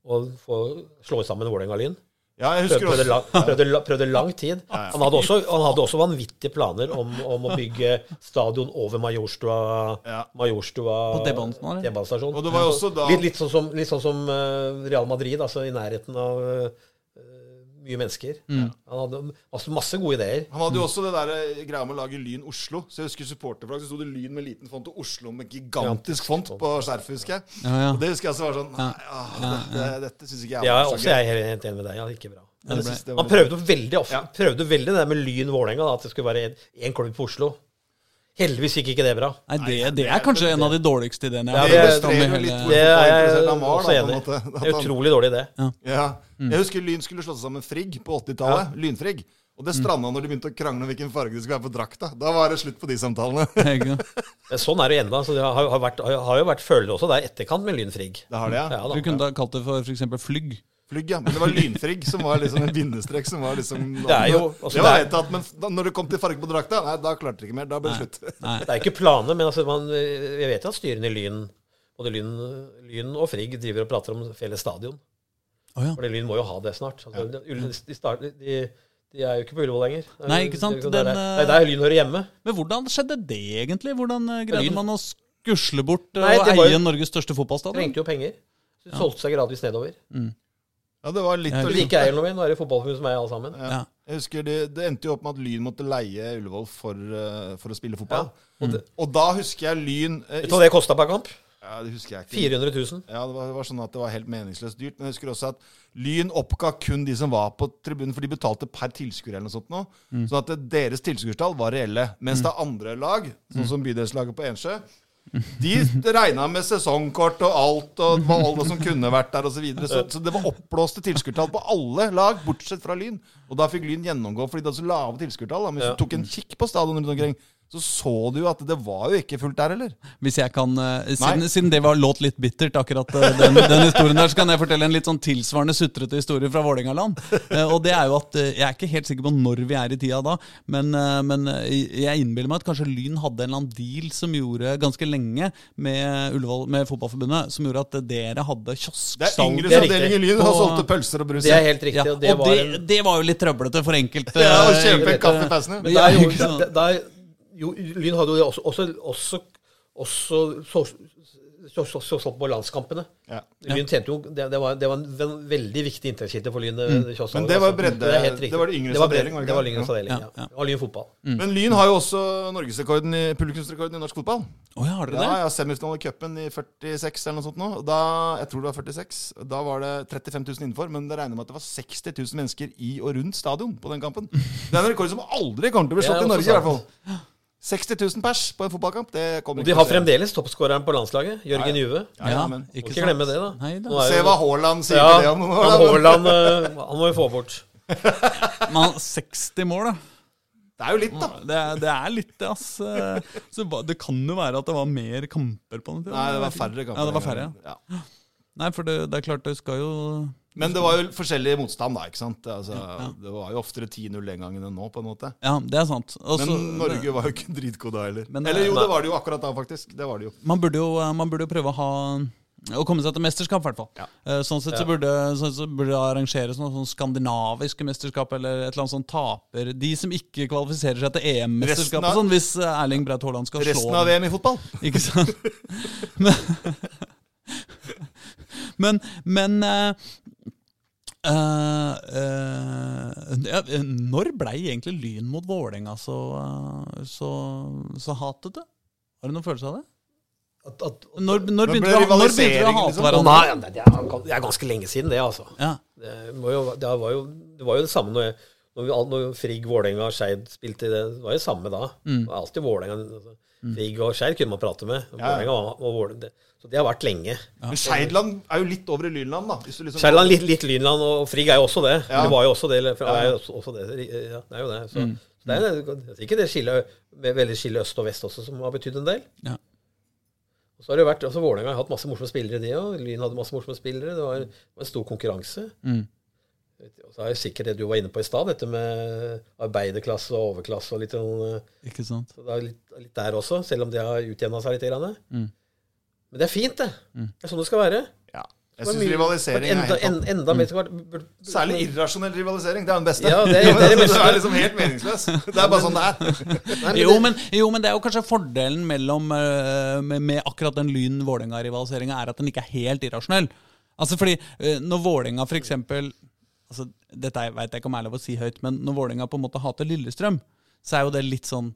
å få slå sammen Vålerenga og Lyn. Ja, Prøvde, jeg husker prøvde, også. lang, prøvde, la- prøvde lang tid. Han hadde også, han hadde også vanvittige planer om, om å bygge stadion over Majorstua, Ja. Majorstua På T-banestasjonen, eller? T-banestasjonen. Og det var jo også da- Litt, litt sånn som, litt sånn som eh, Real Madrid, altså i nærheten av eh, mye mennesker. Mm. Han hadde masse, masse gode ideer. Han hadde jo også det der eh, greia med å lage Lyn Oslo. Så jeg husker supporterflagg, så sto det Lyn med liten font og Oslo med gigantisk font på skjerfet, husker jeg. Ja, ja. Og det husker jeg så var sånn Nei, ah, dette, dette syns ikke Det jeg er var også så gøy. jeg er helt enig med deg. Ja, det gikk ikke bra. Men jeg synes det var Han litt- prøvde jo veldig ofte, prøvde veldig det der med Lyn Vålerenga, da, at det skulle være én klubb på Oslo. Heldigvis gikk ikke det bra. Nei, det, det er kanskje en av de dårligste ideene Ja, det jeg har er- hørt om i illustrerer litt hele hvor- Det er jeg interessert han var, også da, på en enig i. måte. At Det er han- utrolig dårlig, det. Ja. Mm. Jeg husker Lyn skulle slå seg sammen med Frigg på 80-tallet. Lynfrigg. Og Mm. det stranda når de begynte å krangle om hvilken farge det skulle være på drakta. Da var det slutt på de samtalene. Ikke sant? Men sånn er det jo ennå. Så det har, har, vært, har jo vært følelser også der i etterkant med Lynfrigg. Det har det, ja. Ja, da. Du kunne da kalt det for f.eks. flygg. Flygg, ja. Men det var Lynfrigg som var liksom en bindestrek som var liksom Det er jo- altså, Det var det er- helt tatt, Men da, når det kom til farge på drakta, nei, da klarte de ikke mer. Da ble det slutt. Det er ikke planer, men altså, man, jeg vet jo at styrene i Lyn, både Lyn, Lyn og Frigg, driver og prater om felles stadion. Å ja. For Lyn må jo ha det snart. Altså, de, de, starter, de, de er jo ikke på Ullevål lenger. Det er Nei, jo- ikke sant? Det er, jo- Den, det er, det er der Lyn hører hjemme. Men hvordan skjedde det egentlig? Hvordan eh, greide Lyn. man å skusle bort eh, Nei, og det var jo- eie Norges største fotballstadion? Trengte jo penger. Så de solgte seg gradvis nedover. Ja, det var litt Ja, og Hvis litt. ikke jeg eller noe mer, nå er det fotballforbundet som er alle sammen. Ja. Jeg husker det, det endte jo opp med at Lyn måtte leie Ullevål for, eh, for å spille fotball. Og det, Og da husker jeg Lyn eh, vet du hva det kosta per kamp? Ja, det husker jeg ikke. 400 000. Ja, det var, det var sånn at det var helt meningsløst dyrt. Men jeg husker også at Lyn oppga kun de som var på tribunen, for de betalte per tilskuer eller noe sånt nå. Mm. Sånn at det- deres tilskuerstall var reelle. Mens det andre lag, sånn Mm. som bydelslaget på Ensjø, de regna med sesongkort og alt, og det var alle som kunne vært der, osv. Så, videre. så så det var oppblåste tilskuertall på alle lag, bortsett fra Lyn. Og da fikk Lyn gjennomgå, fordi de hadde så lave tilskuertall. da. Men hvis Ja. du tok en kikk på stadion rundt omkring, så så du jo at det var jo ikke fullt der heller. Hvis jeg kan, eh, siden, Nei. siden det var låt litt bittert, akkurat eh, den, den historien der, så kan jeg fortelle en litt sånn tilsvarende sutrete historie fra Vålerengaland. Eh, Og det er jo at eh, jeg er ikke helt sikker på når vi er i tida da, men, eh, men eh, jeg innbiller meg at kanskje Lyn hadde en eller annen deal som gjorde ganske lenge med, Ullevål, med Fotballforbundet, som gjorde at dere hadde Det er kiosksalg. yngres Det er riktig. avdeling i Lyn har På- solgt pølser og brus. Det er helt riktig. Ja, og det og var det, en det var jo litt trøblete for enkelte. Ja, å eh, kjøpe en kaffe i pausen. Men Ja, der, ikke sant? gjorde, der, der, jo, Lyn hadde jo det også, også, også, også så, så, så, så, så på landskampene. Ja. Lyn tjente jo, det, det, var, det var en ven- veldig viktig inntektskilde for Lyn. kiosken, Mm. Men det var altså. bredde- er helt riktig. det var det yngres det var avdeling, var bredde- det Det var ikke? yngres Ja. avdeling, ja. Ja, ja. Og Lyn fotball. Men Lyn har jo også norgesrekorden i publikumsrekorden i norsk fotball. Å, ja, har dere Ja, det? ja Semifinale i cupen i 46 eller noe sånt nå. Og Da, jeg tror det var 46. Da var det 35 000 innenfor, men det regner med at det var 60 000 mennesker i og rundt stadion på den kampen. Det er en rekord som aldri kommer til å bli Det er slått i også Norge, i hvert fall. sant. 60 000 pers på en fotballkamp, det kommer Og de ikke har til å skje. fremdeles toppskåreren på landslaget, Jørgen Juve. Ja, ja, men. Må ikke glemme det, da. Nei, da. Nå er Se jo- hva Haaland sier ja, til det om noen år. han da, men- Haaland eh, han må vi få bort. Man, 60 mål, da. Det er jo litt, da. Det er, det er litt det, ass. Eh, Så hva- det kan jo være at det var mer kamper på den tiden. Nei, det var Jeg vet færre ikke. kamper. Ja, det var den færre, ja. gangen. ja. Nei, for det, det er klart det skal jo Men det var jo forskjellig motstand da, ikke sant? Altså, Det var jo oftere 10-0 den gangen enn nå, på en måte. Ja, det er sant. Også, Men Norge var jo ikke dritgod da heller. Men- Eller jo, Nei. det var det jo akkurat da, faktisk. Det var det jo. Man burde jo, eh, man burde jo prøve å ha å komme seg til mesterskap, i hvert fall. Ja. Eh, Sånn sett så burde, sånn sett så burde det arrangeres noen sånn skandinaviske mesterskap eller et eller annet sånn taper De som ikke kvalifiserer seg til Resten EM-mesterskap av- og sånn, hvis eh, Erling Braut Haaland skal slå Resten av dem. VM i fotball. Ikke sant? Men, men, men eh, eh, eh, ja, Når blei egentlig Lyn mot Vålerenga så, eh, så, så hatete? Har du noen følelse av det? At, at, Når, når, ble begynte, vi, å- når begynte vi å rivaliseringen, hate Å, liksom? hverandre? nei, det er, det er ganske lenge siden, det, altså. Ja. Det, må jo, det, var jo, det var jo det samme når, jeg- når, vi, når Frigg, Vålerenga og Skeid spilte. Det det var jo samme da. Det var alltid Vålerenga. Altså. Frigg og Skeid kunne man prate med. og Mm. Ja, ja. Vålerenga var- var Vålerenga. det- Så det har vært lenge. Men Skeidland er jo litt over i Lynland, da. Hvis du liksom Skjærland, litt, litt Lynland, og Frigg er jo også det. Ja. Det var jo også det. Eller, for er jo også, også det. eh, Ja, det er jo det. Så, Mm. så det er det er ikke det skillet, med veldig skillet øst og vest også, som har betydd en del. Ja. Og Så har det jo vært, altså Vålerenga har hatt masse morsomme spillere, de òg. Lyn hadde masse morsomme spillere. Det var, det var en stor konkurranse. Mm. Og Så er jo sikkert det du var inne på i stad, dette med arbeiderklasse og overklasse og litt sånn eh, Ikke sant? så det er litt, litt der også, selv om det har utjevna seg litt. Grann. Mm. Men det er fint, det. Det er sånn det skal være. Ja. Det Jeg var syns mye- rivalisering er enda, helt topp. en, enda mer skal være- burde- Særlig irrasjonell rivalisering. Det er den beste. Ja, det er- det er det beste. Så er liksom helt meningsløs. Det er bare sånn det er. Nei, men Jo det- men, jo, men det er jo kanskje fordelen mellom, eh, med, med akkurat den Lyn-Vålerenga-rivaliseringa, er at den ikke er helt irrasjonell. Altså fordi eh, når Vålerenga f.eks. Altså, dette veit jeg ikke om er lov å si høyt, men når Vålerenga på en måte hater Lillestrøm, så er jo det litt sånn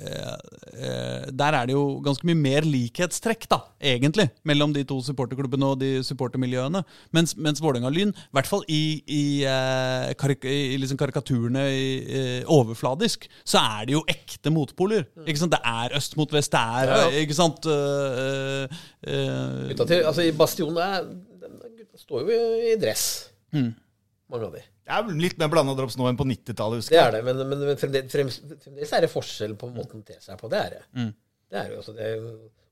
eh, eh, Der er det jo ganske mye mer likhetstrekk, da, egentlig, mellom de to supporterklubbene og de supportermiljøene. Mens, mens Vålerenga-Lyn, i hvert fall i, i, eh, karik i liksom karikaturene i, eh, overfladisk, så er det jo ekte motpoler. Ikke sant? Det er øst mot vest, det er Mm. Ja, ja. eh, Ikke sant? eh, eh, eh, Gutta til, altså, i Bastionen er, de- gutta står jo i, i dress, Mm. mange av de. Det er litt mer blanda drops nå enn på 90-tallet, husker Det jeg. er det, men, men, men fremdeles, frems- fremdeles er det forskjell på måten de ter seg på. Det er det. Mm. Det er jo også, det,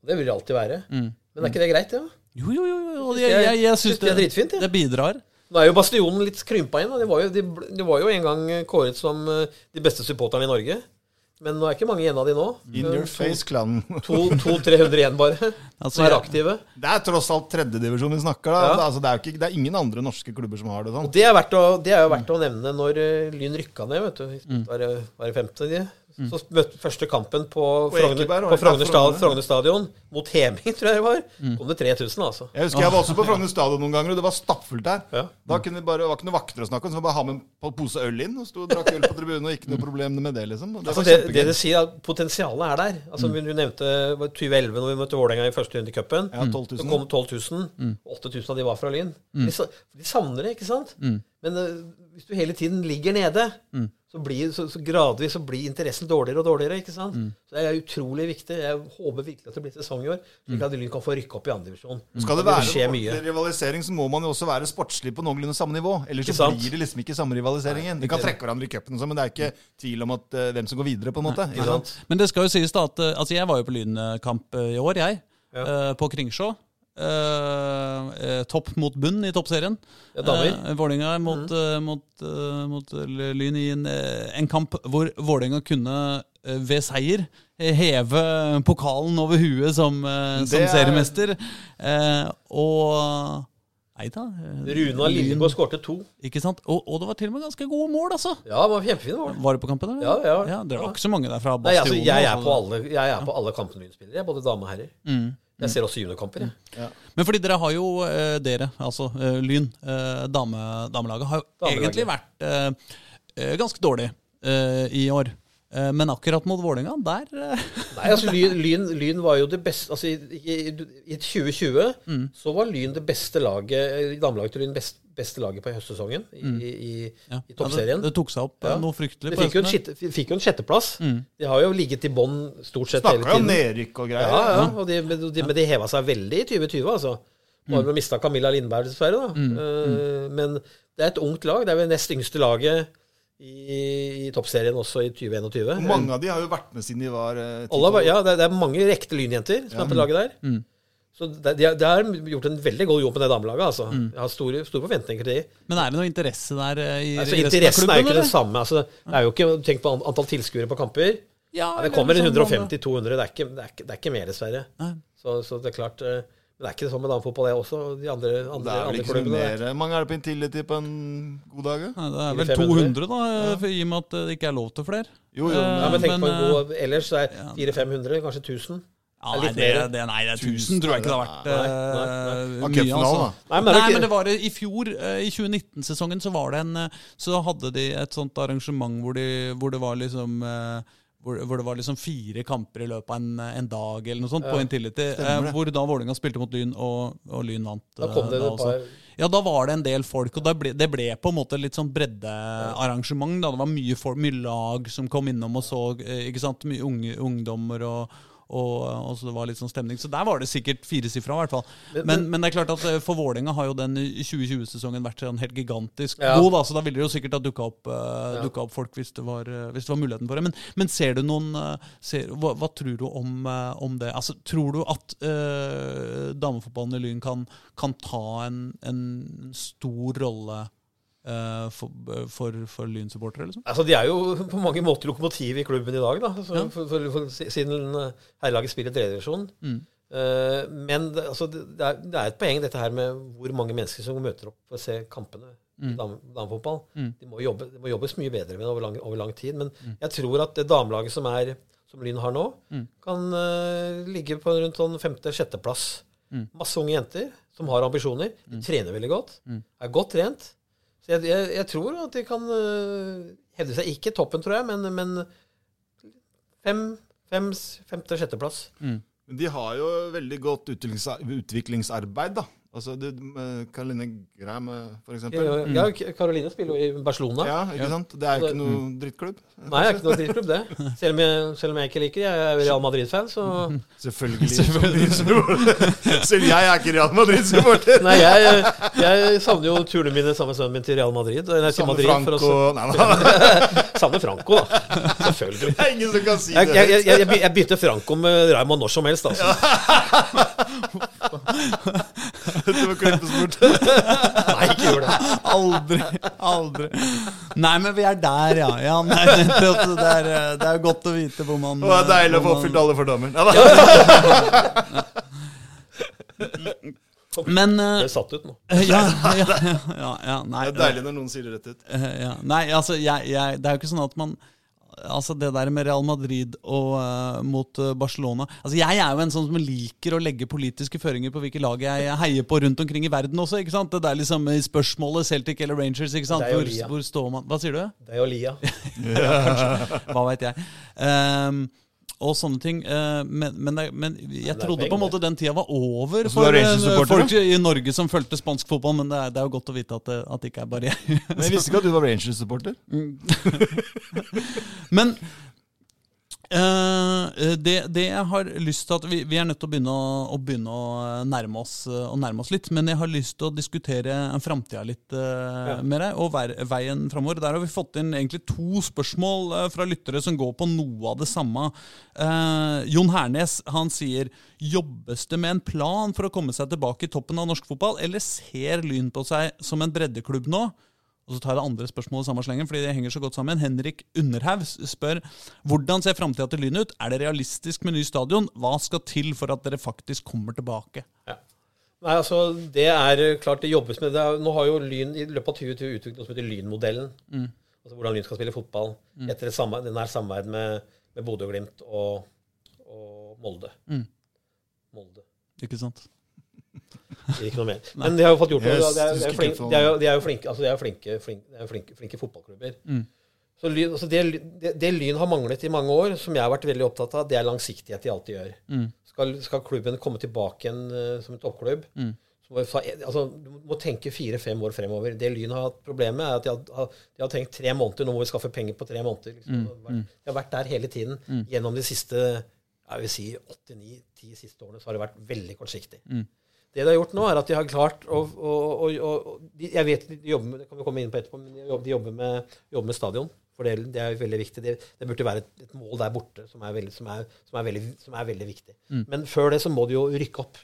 det vil det alltid være. Men er ikke det greit, det? Ja? Jo, jo, jo, jo. og Jeg, jeg- jeg, jeg synes syns det det, er dritfint, jeg. det bidrar. Nå er jo Bastionen litt krympa inn. da. Det var jo, de, bl- de var jo en gang kåret som eh, de beste supporterne i Norge. Men nå er ikke mange igjen av de nå. Eh, In your face-klanen. 200-300 igjen bare, Altså, som er jeg- aktive. Det er tross alt tredjedivisjon vi snakker da. Altså, det, er jo ikke, det er ingen andre norske klubber som har det sånn. Og det er, verdt å, det er jo verdt å nevne når eh, Lyn rykka ned, vet du. Vi Var, det- var det femte, de? Så møtte første kampen på Frogner, Ekeberg, var på det Frogner, der sta- Frogner? Frogner stadion, mot Heming, tror jeg det var, kom det 3000, altså. Jeg husker jeg var også på Frogner stadion noen ganger, og det var stappfullt der. Ja. Da kunne vi bare, det var ikke noen vakter å snakke om, så vi bare ha med en po- pose øl inn, og sto og drakk øl på tribunen, og ikke noe problem med det, liksom. Og Det Altså var det, det kjempegøy. du sier, at potensialet er der. Mm. Altså Du nevnte det var 2011, når vi møtte Vålerenga i første runde i cupen. Ja, Mm. 12 000. Så kom 12 000. 8000 av de var fra Lyn. Mm. De, sa- de savner det, ikke sant? Men eh, hvis du hele tiden ligger nede, Mm. så, blir, så, så gradvis så blir interessen dårligere og dårligere. ikke sant? Mm. Så Det er utrolig viktig. Jeg håper virkelig at det blir sesong i år, slik at Lyn kan få rykke opp i andre divisjon. Mm. Skal det Da vil være skje en mye. ordentlig rivalisering, så må man jo også være sportslig på noenlunde samme nivå. Ellers Ikke så sant? blir det liksom ikke samme rivaliseringen. De kan trekke hverandre i cupen, og sånn, men det er ikke tvil om at, eh, hvem som går videre, på en måte. Ikke sant? Men det skal jo sies da at eh, altså jeg var jo på Lynkamp eh, i år, jeg. eh, På Kringsjå. Eh, eh, topp mot bunn i toppserien. Ja, Mm. damer. Eh, Vålerenga mot, eh, mot, eh, mot eh, Lyn i en, eh, en kamp hvor Vålerenga kunne eh, ved seier eh, heve pokalen over huet som, eh, som Det er- seriemester. Eh, og Nei da. eh, Runa Lillegård skårte to. Ikke sant? Og, og det var til og med ganske gode mål, altså. Ja, det var kjempefine mål. Var du på kampen? eller? Ja, ja. Det var ikke så mange der fra Nei, altså, Bastionen. jeg, er altså. på alle, jeg er på alle kampene Lyn spiller, jeg, både dame og herrer. Mm. Jeg ser også juniorkamper. jeg. Men fordi dere har jo, eh, dere, altså eh, Lyn, eh, dame, damelaget, har jo Damelaget. egentlig vært eh, eh, ganske dårlig eh, i år. Eh, men akkurat mot Vålerenga, der eh, Nei, altså Lyn, lyn, lyn var jo det beste altså, i, i, I 2020 Mm. så var Lyn det beste laget eh, damelaget til Lyn best, beste laget på høstsesongen i, i, Mm. ja, i toppserien. det, det tok seg opp eh, Ja. noe fryktelig. De på fikk jo, en høsten sjette, fikk jo en sjetteplass. Mm. De har jo ligget i bånn stort sett hele Snakker jo om tiden. nedrykk og Ja, greier. ja, og de, men de, men de heva seg veldig i 2020, altså. Mm. Bare med å mista Camilla Lindberg, dessverre. da. Eh, Men det er et ungt lag. Det er vel nest yngste laget i, i toppserien også i 2021. Og mange av de har jo vært med siden de var eh, ti- Alle, har vært- ja, det, er- det er mange ekte lynjenter som er på det laget der. Mm. Så det, de, har- de har gjort en veldig god jobb med det damelaget. Altså. Mm. Jeg har store, store forventninger til de. Men er det noe interesse der eh, i Altså, i resten interessen er jo av klubben, ikke den eller? samme. Altså, det er jo ikke, tenk på an- antall tilskuere på kamper. Ja, Ja, det eller kommer en sånn 150-200. Det, er ikke- det, er ikke- det er ikke mer, dessverre. Nei. Så, så det er klart eh, Men det er ikke sånn med damefotball, det også. De andre, Det andre, er vel andre ikke så klubbene. mer. Mange er det på Intility på en god dag? ja? Nei, det er vel 400-500. 200, da, eh, for, i og med at eh, det ikke er lov til flere. Jo, jo, men- Ja, men tenk på en eh, god Ellers så er 400-500, kanskje 1000. Det er Ja, nei, litt det, mer. det, nei, det er 1000 tror jeg ikke det har vært Nei, nei, eh, Det var mye. cupfinalen, Altså. da. Nei, Nei, men men, det er ikke- det var i fjor, eh, i 2019-sesongen, så var det en eh, Så hadde de et sånt arrangement hvor, de, hvor det var liksom eh, hvor, hvor det var liksom fire kamper i løpet av en, eh, en dag eller noe sånt på Intility. eh, Hvor da Vålerenga spilte mot Lyn, og, og Lyn vant. Da kom eh, det et også. par- Ja, da var det en del folk, og da ble, det ble på en måte litt sånn breddearrangement. da. Det var mye, folk, mye lag som kom innom og så, eh, ikke sant, mye unge, ungdommer og, og, og så det var litt sånn stemning. Så der var det sikkert firesifra, i hvert fall. Men, men det er klart at eh, for Vålerenga har jo den i 2020-sesongen vært sånn helt gigantisk Ja. god, da, så da ville det jo sikkert ha dukka opp, eh, dukket opp folk hvis det, var, eh, hvis det var muligheten for det. Men, men ser du noen eh, ser, hva, hva tror du om, eh, om det? Altså, tror du at eh, damefotballen i Lyn kan, kan ta en, en stor rolle eh, for, for, for Lyn-supportere, liksom? Altså, De er jo på mange måter lokomotiv i klubben i dag, da, altså, for, for, for, siden eh, herrelaget spiller tredjedivisjon. Mm. men det, altså, det, det er, det er et poeng dette her med hvor mange mennesker som møter opp for å se kampene i Mm. dam, damefotball. De må jobbe, det må jobbes mye bedre med det over lang, over lang tid. Men jeg tror at det damelaget som, er, som Lyn har nå, kan eh, ligge på rundt sånn femte-sjetteplass. Masse unge jenter som har ambisjoner. De trener veldig godt. Er godt trent. Så jeg, jeg, jeg tror eh, at de kan øh, hevde seg. Ikke toppen, tror jeg, men, men fem, Fems, femte-sjetteplass. Men de har jo veldig godt utviklings- utviklingsarbeid, da. Altså, du, med Caroline Graham, eh, for eksempel. Ja, Ja, Altså, Karoline spiller jo i Barcelona. ikke sant? Det er jo ikke noe mm. drittklubb. Nei, jeg er ikke noe dritklubb, det. Selv om jeg, selv om jeg ikke liker det. Jeg er Real Madrid-fan, så Selvfølgelig. Selv jeg er ikke Real Madrid-supporter. Nei, jeg, jeg savner jo turene mine sammen med sønnen min til Real Madrid. og- Nei, til Samme Madrid for Franco å, Nei, nei, savner Franco, da. Selvfølgelig. det er ingen som kan si Jeg, jeg, det. jeg, jeg, by- jeg bytter Franco med Raymond når som helst, altså. Det var klippes bort. Nei, ikke gjør det. Aldri. Aldri. Nei, men vi er der, ja. ja nei, nettopp, det, er, eh, det er godt å vite hvor man Det var eh, deilig å få hvor man- oppfylt alle fordommer. Nei, da. Men eh, Jeg er satt ut nå. ja, ja, ja, ja, ja, nei, Det er deilig når noen sier det rett ut. Eh, ja. Nei, altså, jeg, jeg, det er jo ikke sånn at man Altså Det der med Real Madrid og eh, mot eh, Barcelona Altså Jeg er jo en sånn som liker å legge politiske føringer på hvilke lag jeg heier på rundt omkring i verden også. ikke sant? Det der liksom i spørsmålet Celtic eller Rangers. ikke sant? Det er jo Hvor, Lia. hvor står man? Hva sier du? Det er jo Lia. Hva veit jeg. Ehm, og sånne ting. eh, men, men, det- men jeg er trodde på en penger, måte den tida var over så du for er eh, Rangers-supporter, folk i Norge som fulgte spansk fotball, men det er, det er jo godt å vite at det, at det ikke er bare jeg. Men jeg visste ikke at du var Rangers-supporter. Men eh, det, det jeg har lyst til at Vi, vi er nødt til å begynne, å, å, begynne å, eh, nærme oss, å nærme oss litt. Men jeg har lyst til å diskutere framtida litt eh, Ja. med deg, og vei, veien framover. Der har vi fått inn egentlig to spørsmål eh, fra lyttere som går på noe av det samme. Eh, Jon Hernes han sier Jobbes det med en plan for å komme seg tilbake i toppen av norsk fotball, eller ser Lyn på seg som en breddeklubb nå? Og så tar jeg det andre spørsmålet i samme slengen, fordi det henger så godt sammen. Henrik Underhaug spør hvordan ser framtida til Lyn ut? Er det realistisk med ny stadion? Hva skal til for at dere faktisk kommer tilbake? Ja. Nei, altså, det er eh, klart det jobbes med det. er- Nå har jo Lyn i løpet av 2020 utviklet noe som heter Lynmodellen. Altså hvordan Lyn skal spille fotball etter et samarbeid, det nær samarbeid med, med Bodø, Glimt og, og Molde. Mm. Molde. Ikke sant? Det er Ikke noe mer. Men de har jo fått gjort noe. Yes, De er, du de skal er, flink- ikke få- de er, jo- de er jo flinke, altså de er jo flinke, flinke, de er jo flinke, flinke fotballklubber. Mm. Så lyn, altså det, det, det Lyn har manglet i mange år, som jeg har vært veldig opptatt av, det er langsiktighet i alt de gjør. Mm. Skal, skal klubben komme tilbake igjen eh, som en toppklubb, Mm. så må, vi ta- altså, du må tenke fire-fem år fremover. Det Lyn har hatt problemet, er at de har, har- de har tenkt tre måneder. Nå må vi skaffe penger på tre måneder. Mm, Liksom. De har vært der hele tiden. Gjennom de siste jeg vil si åtte-ni-ti siste årene så har det vært veldig kortsiktig. Det de har gjort nå, er at de har klart å, å, å, å å- de, Jeg vet de jobber med, det kan vi komme inn på etterpå, men de jobber, de jobber, med, jobber med stadion. For det, det er veldig viktig. Det, det burde være et, et mål der borte som er veldig, som er, som er veldig, som er veldig viktig. Men før det så må de jo rykke opp.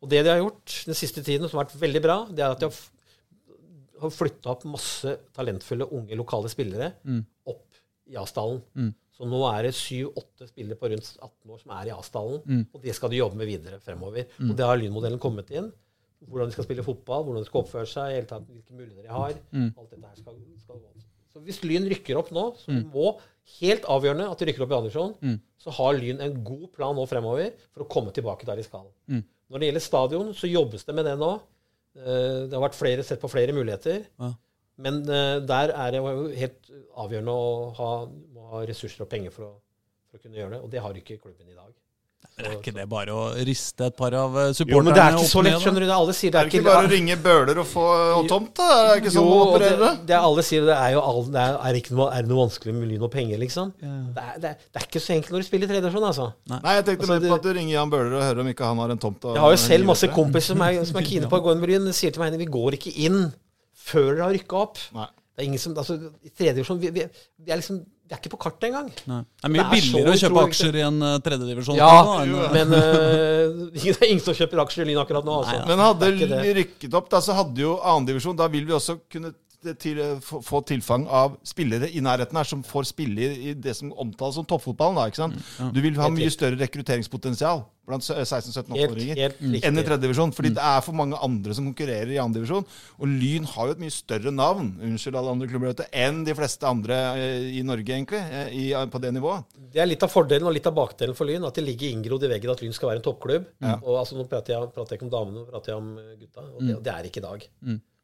Og det de har gjort den siste tiden, som har vært veldig bra, det er at de har, f- har flytta opp masse talentfulle unge lokale spillere opp i A-stallen. Så nå er det syv-åtte spillere på rundt 18 år som er i A-stallen, og det skal de jobbe med videre fremover. Og det har lynmodellen kommet inn. Hvordan de skal spille fotball, hvordan de skal oppføre seg, i hele tatt, hvilke muligheter de har. Alt dette her skal, skal gå. Så hvis Lyn rykker opp nå, så må helt avgjørende at de rykker opp i Andersson, så har Lyn en god plan nå fremover for å komme tilbake der de skal. Når det gjelder stadion, så jobbes det med det nå. Eh, Det har vært flere, sett på flere muligheter. Ja. Men eh, der er det jo helt avgjørende å ha, må ha ressurser og penger for å, for å kunne gjøre det. Og det har ikke klubben i dag. Det er ikke det bare å riste et par av eh, Jo, supporterne men det er ikke så opp ned, lett, da? skjønner du. Det er alle sier det Er er det ikke bare å ringe Bøhler og få og tomt, da? Er det ikke sånn man Jo, og det, opererer? det er alle sier det er jo all, det er, er ikke noe, er det noe vanskelig med lyn og penger, liksom. Det, er, det, er, det er ikke så enkelt når du spiller tredjevisjon, altså. Nei, jeg tenkte Altså, mer det- på at du ringer Jan Bøhler og hører om ikke han har en tomt. og- Jeg har jo en selv masse livretter. kompiser som er, som er kine på å gå inn med Lyn. De sier til meg at vi går ikke inn før dere har rykka opp. Nei. Det er ingen som, altså, I tredje divisjon vi, vi, vi er liksom, Vi er ikke på kartet engang. Nei. Det er mye Det er så billigere å kjøpe utrolig- aksjer i en eh, tredjedivisjon. Ja, enn, eh, men øh, det er ingen som kjøper aksjer i Lyn akkurat nå. Altså. Men Det hadde er ikke vi rykket opp, da, så hadde jo annendivisjon Da vil vi også kunne t- til, få- få tilfang av spillere i nærheten her, som får spille i i det som omtales som toppfotballen. da, ikke Mm, sant? Du vil ha mye større rekrutteringspotensial blant s- 16-17-åringer. Helt, helt enn i riktig. tredje divisjon. Fordi det er for mange andre som konkurrerer i andre divisjon. Og Lyn har jo et mye større navn unnskyld alle andre klubber, vet du, enn de fleste andre eh, i Norge, egentlig, eh, i, på det nivået. Det er litt av fordelen og litt av bakdelen for Lyn. At det ligger inngrodd i veggen at Lyn skal være en toppklubb. Og altså, Nå prater jeg, prater jeg ikke om damene, nå prater jeg om eh, gutta. Og det, og det er ikke i dag.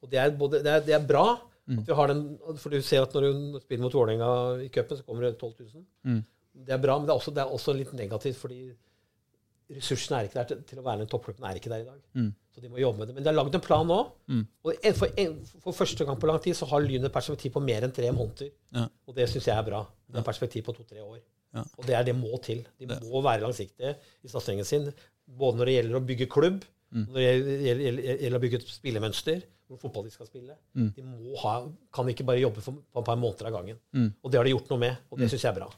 Og det er, både, det er, det er bra. At vi har den, for du ser at når du spiller mot Vålerenga i cupen, så kommer det 12 000. Det er bra, men det er også, det er også litt negativt, fordi ressursene er ikke der til, til å være med i toppklubben. er ikke der i dag. Så de må jobbe med det. Men de har lagd en plan nå. Og en, for, en, for første gang på lang tid så har Lyn et perspektiv på mer enn tre måneder. Ja. Og det syns jeg er bra. Det er et perspektiv på to-tre år. Ja. Og det er det må til. De må være langsiktige i satsingen sin. Både når det gjelder å bygge klubb, når det gjelder, gjelder, gjelder å bygge et spillemønster, hvor fotball de skal spille. De må ha, kan ikke bare jobbe for, på et par måneder av gangen. Og det har de gjort noe med, og det syns jeg er bra.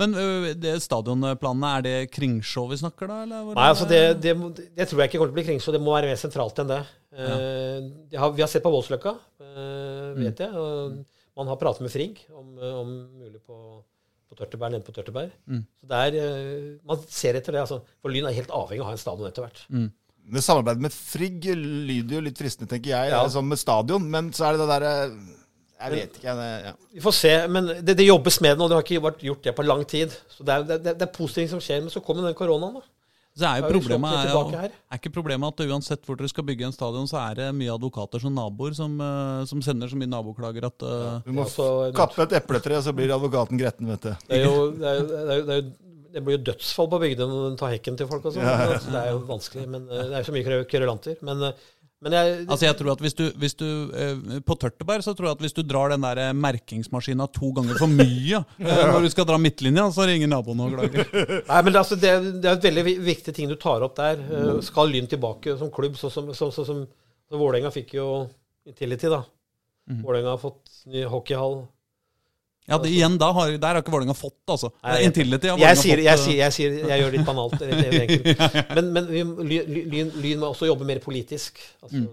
Men ø, det stadionplanene, er det Kringsjå vi snakker da? Eller? hvordan Nei, altså er det, det, må- det tror jeg ikke kommer til å bli kringsjå. Det må være mer sentralt enn det. Eh, jeg har, vi har sett på Voldsløkka, eh, Mm. vet jeg. Og man har pratet med Frigg om, eh, om mulig på, på Tørteberg, nede på Tørteberg. Mm. Så der, eh, man ser etter det. Altså, for Lyn er helt avhengig av å ha en stadion etter hvert. Det samarbeidet med Frigg lyder jo litt fristende, tenker jeg, Ja. som med stadion. Men så er det det derre Jeg vet ikke, jeg. det- Ja. Vi får se, men det, det jobbes med det nå. Det har ikke vært gjort det på lang tid. Så det er, det, er- det er positivt som skjer. Men så kommer den koronaen, da. Så er jo Da er vi problemet slått er, litt jo, tilbake her. er ikke problemet at uansett hvor dere skal bygge en stadion, så er det mye advokater som naboer som, eh, som sender så mye naboklager at eh, Du må Det er altså en- kappe et epletre, så blir advokaten gretten, vet du. Det, er jo, det, er, jo- det, er, jo- det, er, jo- det blir jo dødsfall på bygdene når den tar hekken til folk. og sånn. Så Det er jo vanskelig. men eh, Det er så mye kver- kverulanter. Men, eh, men jeg, Altså jeg tror at hvis du, hvis du eh, På Tørteberg så tror jeg at hvis du drar den der eh, merkingsmaskina to ganger for mye eh, når du skal dra midtlinja, så ringer naboen og klager. nei, men det, er altså, det, er- det er et veldig vi- viktig ting du tar opp der. Eh, Mm. Skal Lyn tilbake som klubb, sånn som så, så, som så Vålerenga fikk jo Intility, da. Mm. Vålerenga har fått ny hockeyhall. Ja, det, igjen, da har, Der har ikke Vålerenga fått, altså. Nei, Nei, Inntil det, ja, Jeg Vålerenga sier, fått, jeg, eh, sier, jeg, sier, jeg gjør det litt banalt. eller litt enkelt. Men, men vi- Ly- Ly- lyn, lyn må også jobbe mer politisk. Mm. Altså,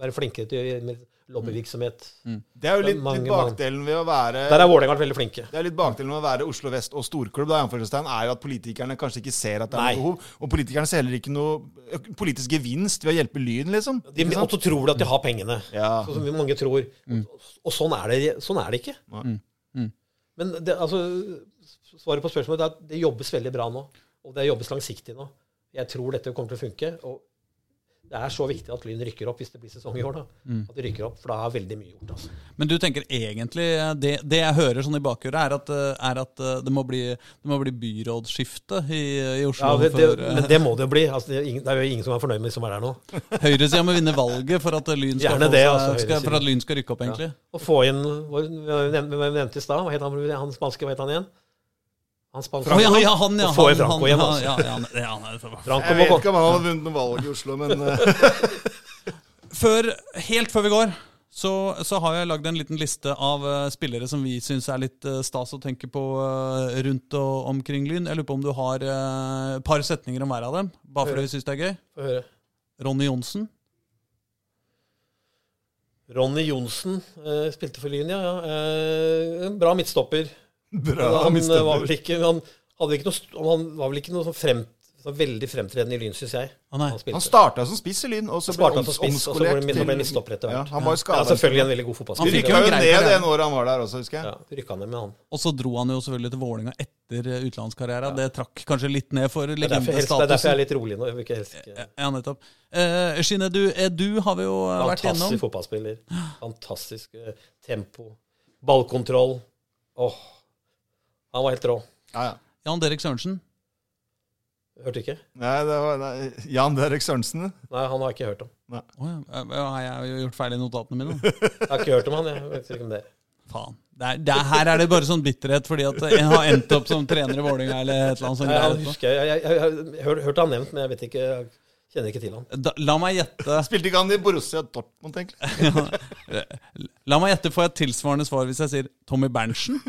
Være flinkere til å gjøre mer lobbyvirksomhet. Mm. Det er jo litt Mange, mange. bakdelen ved å være Der har Vålerenga vært veldig flinke. Det er litt bakdelen med å være Oslo Vest og storklubb, da, i anførselstegn, er jo at politikerne kanskje ikke ser at det er Nei. noe behov. Og politikerne ser heller ikke noe ø- politisk gevinst ved å hjelpe Lyn, liksom. De, Ikke og sant? så tror de at de har pengene, Ja. sånn som mange tror. Og, og sånn, er det, sånn er det ikke. Mm. Men det, altså, svaret på spørsmålet er at det jobbes veldig bra nå. Og det jobbes langsiktig nå. Jeg tror dette kommer til å funke. Og det er så viktig at Lyn rykker opp hvis det blir sesong i år. da. At de rykker opp, For da er veldig mye gjort. altså. Men du tenker egentlig eh, Det, det jeg hører sånn i bakgrunnen, er at, eh, er at eh, det, må bli, det må bli byrådsskifte i, i Ja, Oslo. det, det, for, eh, men det må det jo bli. Altså, det, er ingen, det er jo ingen som er fornøyd med de som er der nå. Høyresida må vinne valget for at Lyn skal, Gjerne få det, seg- altså, skal, for høyresiden. at lyn skal rykke opp, egentlig. Å få inn hva- Hvem nevnte- hvem nevnte i stad? Hva het han, han spanske? Hva het han igjen? Han spanske? Å ja, ja, han, ja. Å få inn han, Franco han, igjen, ja, altså. ja, ja, han- ja, han er så- Franco Jeg må vet komme. ikke om han hadde vunnet noe valg i Oslo, men eh, ø, før, helt før vi går, så, så har jeg lagd en liten liste av eh, spillere som vi syns er litt eh, stas å tenke på eh, rundt og omkring Lyn. Jeg lurer på om du har eh, et par setninger om hver av dem, bare Eh. fordi vi syns det er gøy. Få høre. Ronny Johnsen. Ronny Johnsen eh, spilte for Lyn, ja. ja. Eh, en bra midtstopper. bra, han, eh, mistet var det. vel ikke, han, hadde ikke noe, st- han var vel ikke noe sånn frem, sånn veldig fremtredende i Lyn, syns jeg. Å nei. Han spilte. Han starta som spiss i Lyn, og så ble Startet han som oms- spiss, og så ble omskolert han- til ble han midtstopper etter hvert. Ja, han var jo ja, skadet. selvfølgelig en veldig god Vi Han fotballspiller. fikk rykka jo greit ned karriere. det en året han var der også, husker jeg. Ja, rykka ned med han. Og så dro han jo selvfølgelig til Vålinga etter eh, utenlandskarrieren. Det trakk kanskje litt ned for Det er derfor, helst, det er derfor jeg er legendestatusen. litt rolig nå. Jeg vil ikke helst ikke Ja, nettopp. Eh, Shinedu Edu har vi jo eh, vært Fantastisk igjennom. fotballspiller. Fantastisk eh, tempo. Ballkontroll. Åh. Han var helt rå. Ja, ja. Jan Derek Sørensen. Hørte ikke? Nei, det var nei, Jan Derek Sørensen. Nei, han har jeg ikke hørt om. Å ja, eh, Har jeg gjort feil i notatene mine? Jeg har ikke hørt om han, jeg. vet ikke om det. er. Faen. Det er, det er, her er det bare sånn bitterhet fordi at en har endt opp som trener i Vålinga eller et eller annet sånt. Nei, han greier etterpå. husker jeg, jeg, jeg, jeg, jeg hør- hørte han nevnt, men jeg vet ikke, jeg kjenner ikke til han. Da, la meg gjette Spilte ikke han i Borussia Dortmund, egentlig? La meg gjette, får jeg et tilsvarende svar hvis jeg sier Tommy Berntsen?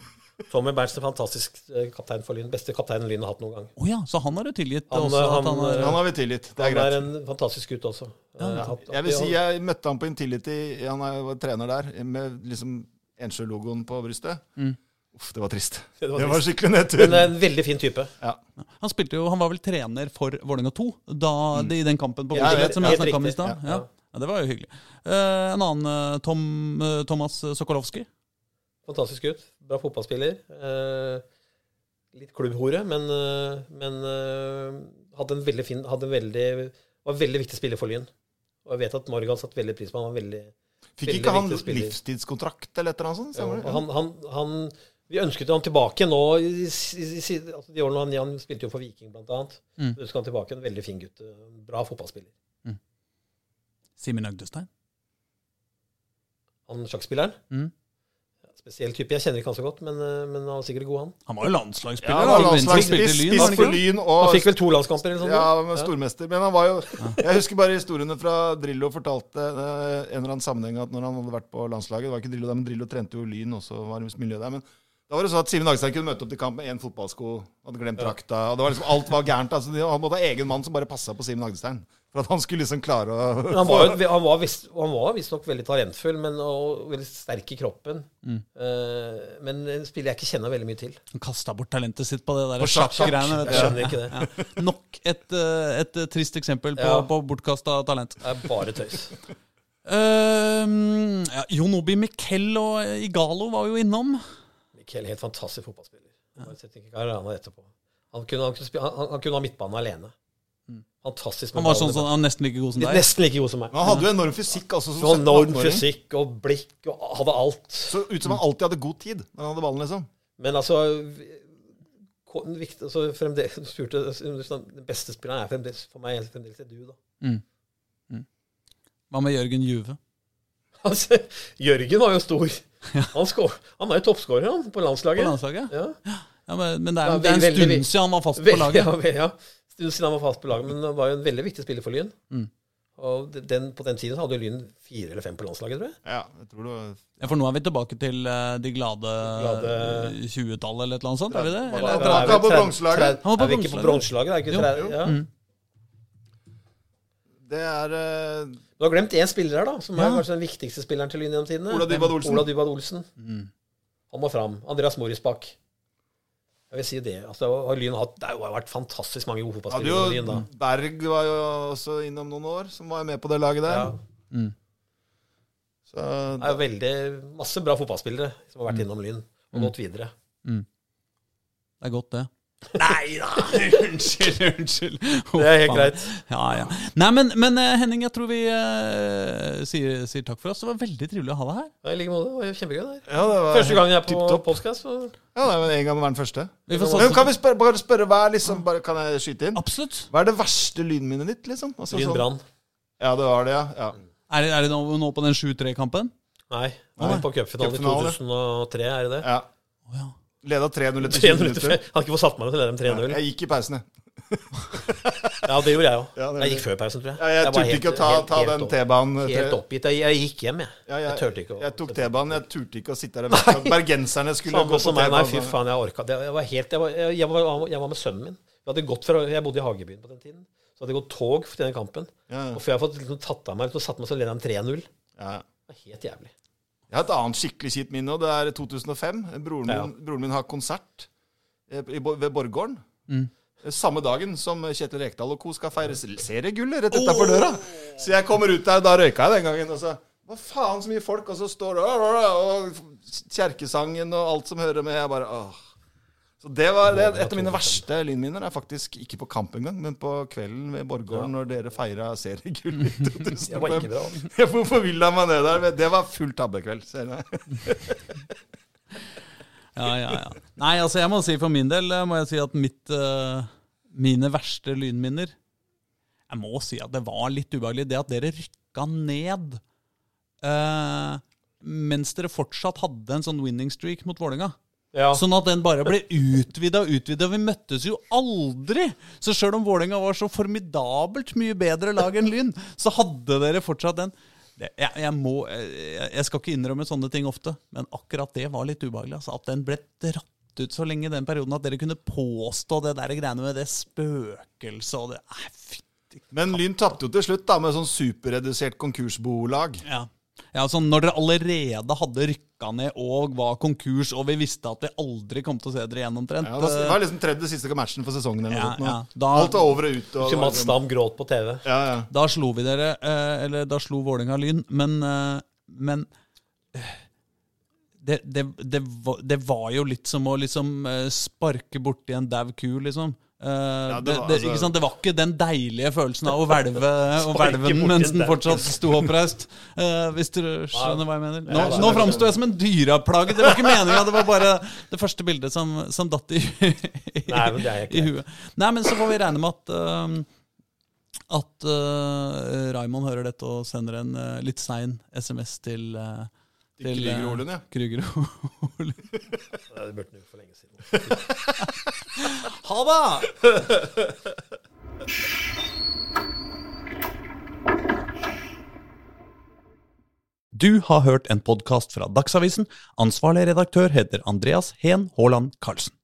Tommy Berntsen, fantastisk eh, kaptein for Lyn. Beste kapteinen Lyn har hatt noen gang. Å ja, så han har du tilgitt Han, eh, også at han, han eh, har Han har vi tilgitt. Det er Han greit. er en fantastisk gutt også. Eh, hatt- Jeg vil si jeg møtte han på Intility, han er, var trener der, med liksom Ensjø-logoen på brystet. Uff, det var trist. Det var var, trist. skikkelig Men nedtur. en veldig fin type. Ja. Han spilte jo, han var vel trener for Vålerenga 2 da, det- i den kampen på Ja, Vålerenga helt- som Mm. jeg helt snakka om i riktig. stad. Ja. Ja. Ja, det var jo hyggelig. Eh, en annen eh, Tom, eh, Thomas Sokolowski. Fantastisk gutt. Bra fotballspiller. Eh, litt klubbhore, men, eh, men eh, hadde en veldig fin hadde en veldig, Var en veldig viktig spiller for Lyn. Og jeg vet at Morgan satte veldig pris på ham. Han var veldig Fikk Veldig ikke han viktig spiller. livstidskontrakt eller et eller annet sånt? Ja, stemmer og det? han, han, han Vi ønsket han tilbake nå i, i, i, i altså de årene han, han spilte jo for Viking, blant annet. Mm. Så ønsket han tilbake en veldig fin gutt. en Bra fotballspiller. Simen Agdestein. Han sjakkspilleren. Mm. Spesiell type. Jeg kjenner ikke han så godt, men, eh, men han var sikkert god, han. Han var jo landslagsspiller. Ja, da, han var den som landslagsspiss, spilte i Lyn, var han spiss ikke for det? Lyn Han og fikk vel to landskamper eller noe sånt? ja, men stormester. Men han var jo Jeg husker bare historiene fra Drillo fortalte eh, en eller annen sammenheng at når han hadde vært på landslaget Det var ikke Drillo der, men Drillo trente jo Lyn også, var i miljøet der. Men da var det sånn at Simen Hagestein kunne møte opp til kamp med én fotballsko, hadde glemt drakta og det var liksom, Alt var gærent. Altså, de- han måtte ha egen mann som bare passa på Simen Hagestein. For at han skulle liksom klare å Men Han var, jo- han var, visst, han var visstnok veldig talentfull men, og veldig sterk i kroppen. Mm. Eh, men en spiller jeg ikke kjenner veldig mye til. Han kasta bort talentet sitt på det der På sjakk. sjakkgreiene. Jeg skjønner ikke det. Ja. Nok et, eh, et eh, trist eksempel på, Ja. på bortkasta talent. Det er bare tøys. Ehm, ja, Jon Obi Miquel og eh, Igalo var jo innom. Mikkel, helt fantastisk fotballspiller. Bare sett ikke Carana etterpå. Han kunne, han, kunne spille, han, han kunne ha midtbanen alene. Fantastisk. med Mm. Han var ballen sånn i sånn, han er nesten like god som bakken. deg. Nesten like god som meg. Men han hadde jo enorm fysikk. altså som Så enorm 17-18-åring. fysikk og blikk og hadde alt. Så ut som han alltid hadde god tid når han hadde ballen, liksom. Men altså, vi- ko- den viktig, altså fremdeles, du spurte, Den beste spilleren er fremdeles, for meg er fremdeles du, da. Hva med Jørgen Juve? Altså, Jørgen var jo stor. Han, skår, han er jo toppskårer han, på landslaget. På landslaget? Ja. Ja, men, men det er, jo- Ja, det er en veldig- stund veldig- siden han var fast på Veldig- laget. Ja, ve- ja. Stund siden han var fast på laget, men han var jo en veldig viktig spiller for Lyn. Mm. Og de- den, på den tiden så hadde jo Lyn fire eller fem på landslaget, tror jeg. Ja, jeg tror det var Ja, For nå er vi tilbake til eh, de glade, Glade- 20-tallet eller et eller annet sånt? er vi det? Hva- Eller, hva- Da er hva- han var vi på tre- bronselaget. tre- Han var på Er vi ikke på bronselaget? Er vi ikke Jo, Mm. tre- ja. Det er eh, Du har glemt én spiller her, da, som er Ja. kanskje den viktigste spilleren til Lyn gjennom tidene. Ola Dybwad Olsen. Ola Dybwad Olsen. Mm. Han må fram. Andreas Morisbakk. Jeg vil si det. Altså, har Lyn hatt, det har jo vært fantastisk mange gode hadde fotballspillere. under Lyn, jo, da. Berg var jo også innom noen år, som var med på det laget der. Ja. Så Det er jo veldig masse bra fotballspillere som Mm. har vært innom Lyn og gått videre. Det er godt, det. Nei da! unnskyld, unnskyld. Det er helt greit. Ja, ja. Nei, men, men eh, Henning, jeg tror vi eh, sier, sier takk for oss. Det var veldig trivelig å ha deg her. Ja, I like måte. Det var jo kjempegøy. det her. ja, det var Første gangen jeg er tipp på topp. podcast. så- Ja, det var en gang med å være den første. Vi får Men kan satse. vi spørre, bare spørre hva er liksom, bare, Kan jeg skyte inn? Absolutt. Hva er det verste lynminnet ditt, liksom? Altså, Lyn sånn- Brann. Ja, det var det, ja. ja. Er det, er det nå, nå på den 7-3-kampen? Nei, nå er vi på cupfinalen i Cupfinale. 2003, er det det? ja. Å ja. Leda 3-0 3-0 etter etter 20 fem. minutter. Jeg hadde ikke fått satt meg ned til å lede dem 3-0. Jeg gikk i pausen, jeg. Ja, det gjorde jeg Ja, òg. det- Jeg gikk før pausen, tror jeg. Ja, jeg var turte helt- ikke å ta, helt- ta helt den opp- T-banen. Helt oppgitt. Jeg, jeg gikk hjem, jeg. Ja, jeg, Jeg turte ikke å Jeg tok T-banen. Jeg turte ikke å sitte der. og vente. Bergenserne skulle Samme gå på som meg. Nei, fy T-banen. faen, jeg orka det. Jeg var, helt, jeg, var, jeg, jeg, var, jeg var med sønnen min. Vi hadde gått fra, jeg bodde i Hagebyen på den tiden. Så hadde jeg gått tog til den kampen. Ja, ja. Og før jeg hadde fått liksom, tatt av meg, så satt meg så leda de 3-0. Ja. Det var helt jævlig. Jeg har et annet skikkelig kjipt minne, og det er 2005. Broren min, Ja. broren min har konsert eh, i, Bo- ved Borggården. Mm. Eh, Samme dagen som Kjetil Rekdal og co. skal feire s- seriegullet rett utafor døra. Så jeg kommer ut der, da røyka jeg den gangen. og så hva faen, så mye folk, og så står det «Åh, åh, åh», og kjerkesangen og alt som hører med. Jeg bare åh. Så det var det, Et av mine verste lynminner er faktisk ikke på kamp engang, men på kvelden ved Borggården når dere feira seriegull i 2005. Det var ikke bra. altså. Ja, Hvorfor vil han meg ned der? Men Det var full tabbekveld. ser du. Ja, ja, ja. Nei, altså jeg må si for min del eh, må jeg si at mitt, eh, mine verste lynminner Jeg må si at det var litt ubehagelig. Det at dere rykka ned eh, mens dere fortsatt hadde en sånn winning streak mot Vålerenga. Ja. Sånn at den bare ble utvida og utvida. Vi møttes jo aldri! Så sjøl om Vålerenga var så formidabelt mye bedre lag enn Lyn, så hadde dere fortsatt den. Det- Jeg, jeg, må, jeg, jeg skal ikke innrømme sånne ting ofte, men akkurat det var litt ubehagelig. Altså, at den ble dratt ut så lenge i den perioden at dere kunne påstå det der greiene med det spøkelset og det Nei, fytti Men Lyn tapte jo til slutt da, med sånn superredusert konkursbolag. Ja. Ja, sånn Når dere allerede hadde rykka ned og var konkurs, og vi visste at vi aldri kom til å se dere igjen, omtrent. Ja, det var liksom tredje siste matchen for sesongen. eller Ja, noe sånt nå. ja. Da- Alt var over og ut. Og, Husker Mats Dam gråt på TV. Ja, ja. Da slo vi dere, eh, eller da slo Vålerenga Lyn, men, eh, men eh, det, det, det, var, det var jo litt som å liksom eh, sparke borti en dau ku, liksom. Eh, det, det var, det, altså- ikke sant? det var ikke den deilige følelsen av å hvelve, å Sparke hvelve den borti mens den den. fortsatt sto oppreist. eh, hvis dere skjønner hva jeg mener. Nå, jeg skjønner. nå framsto jeg som en dyreplage. Det var ikke meninga. Det var bare det første bildet som, som datt i, i, Nei, men det er i ikke huet. Nei, men så får vi regne med at eh, at eh, Raymond hører dette og sender en eh, litt sein SMS til uh, Til Krüger og Olund, ja. Krüger og Olund. Nei, Det burde den jo for lenge siden. Ha det! Du har hørt en podkast fra Dagsavisen. Ansvarlig redaktør heter Andreas Heen Haaland Karlsen.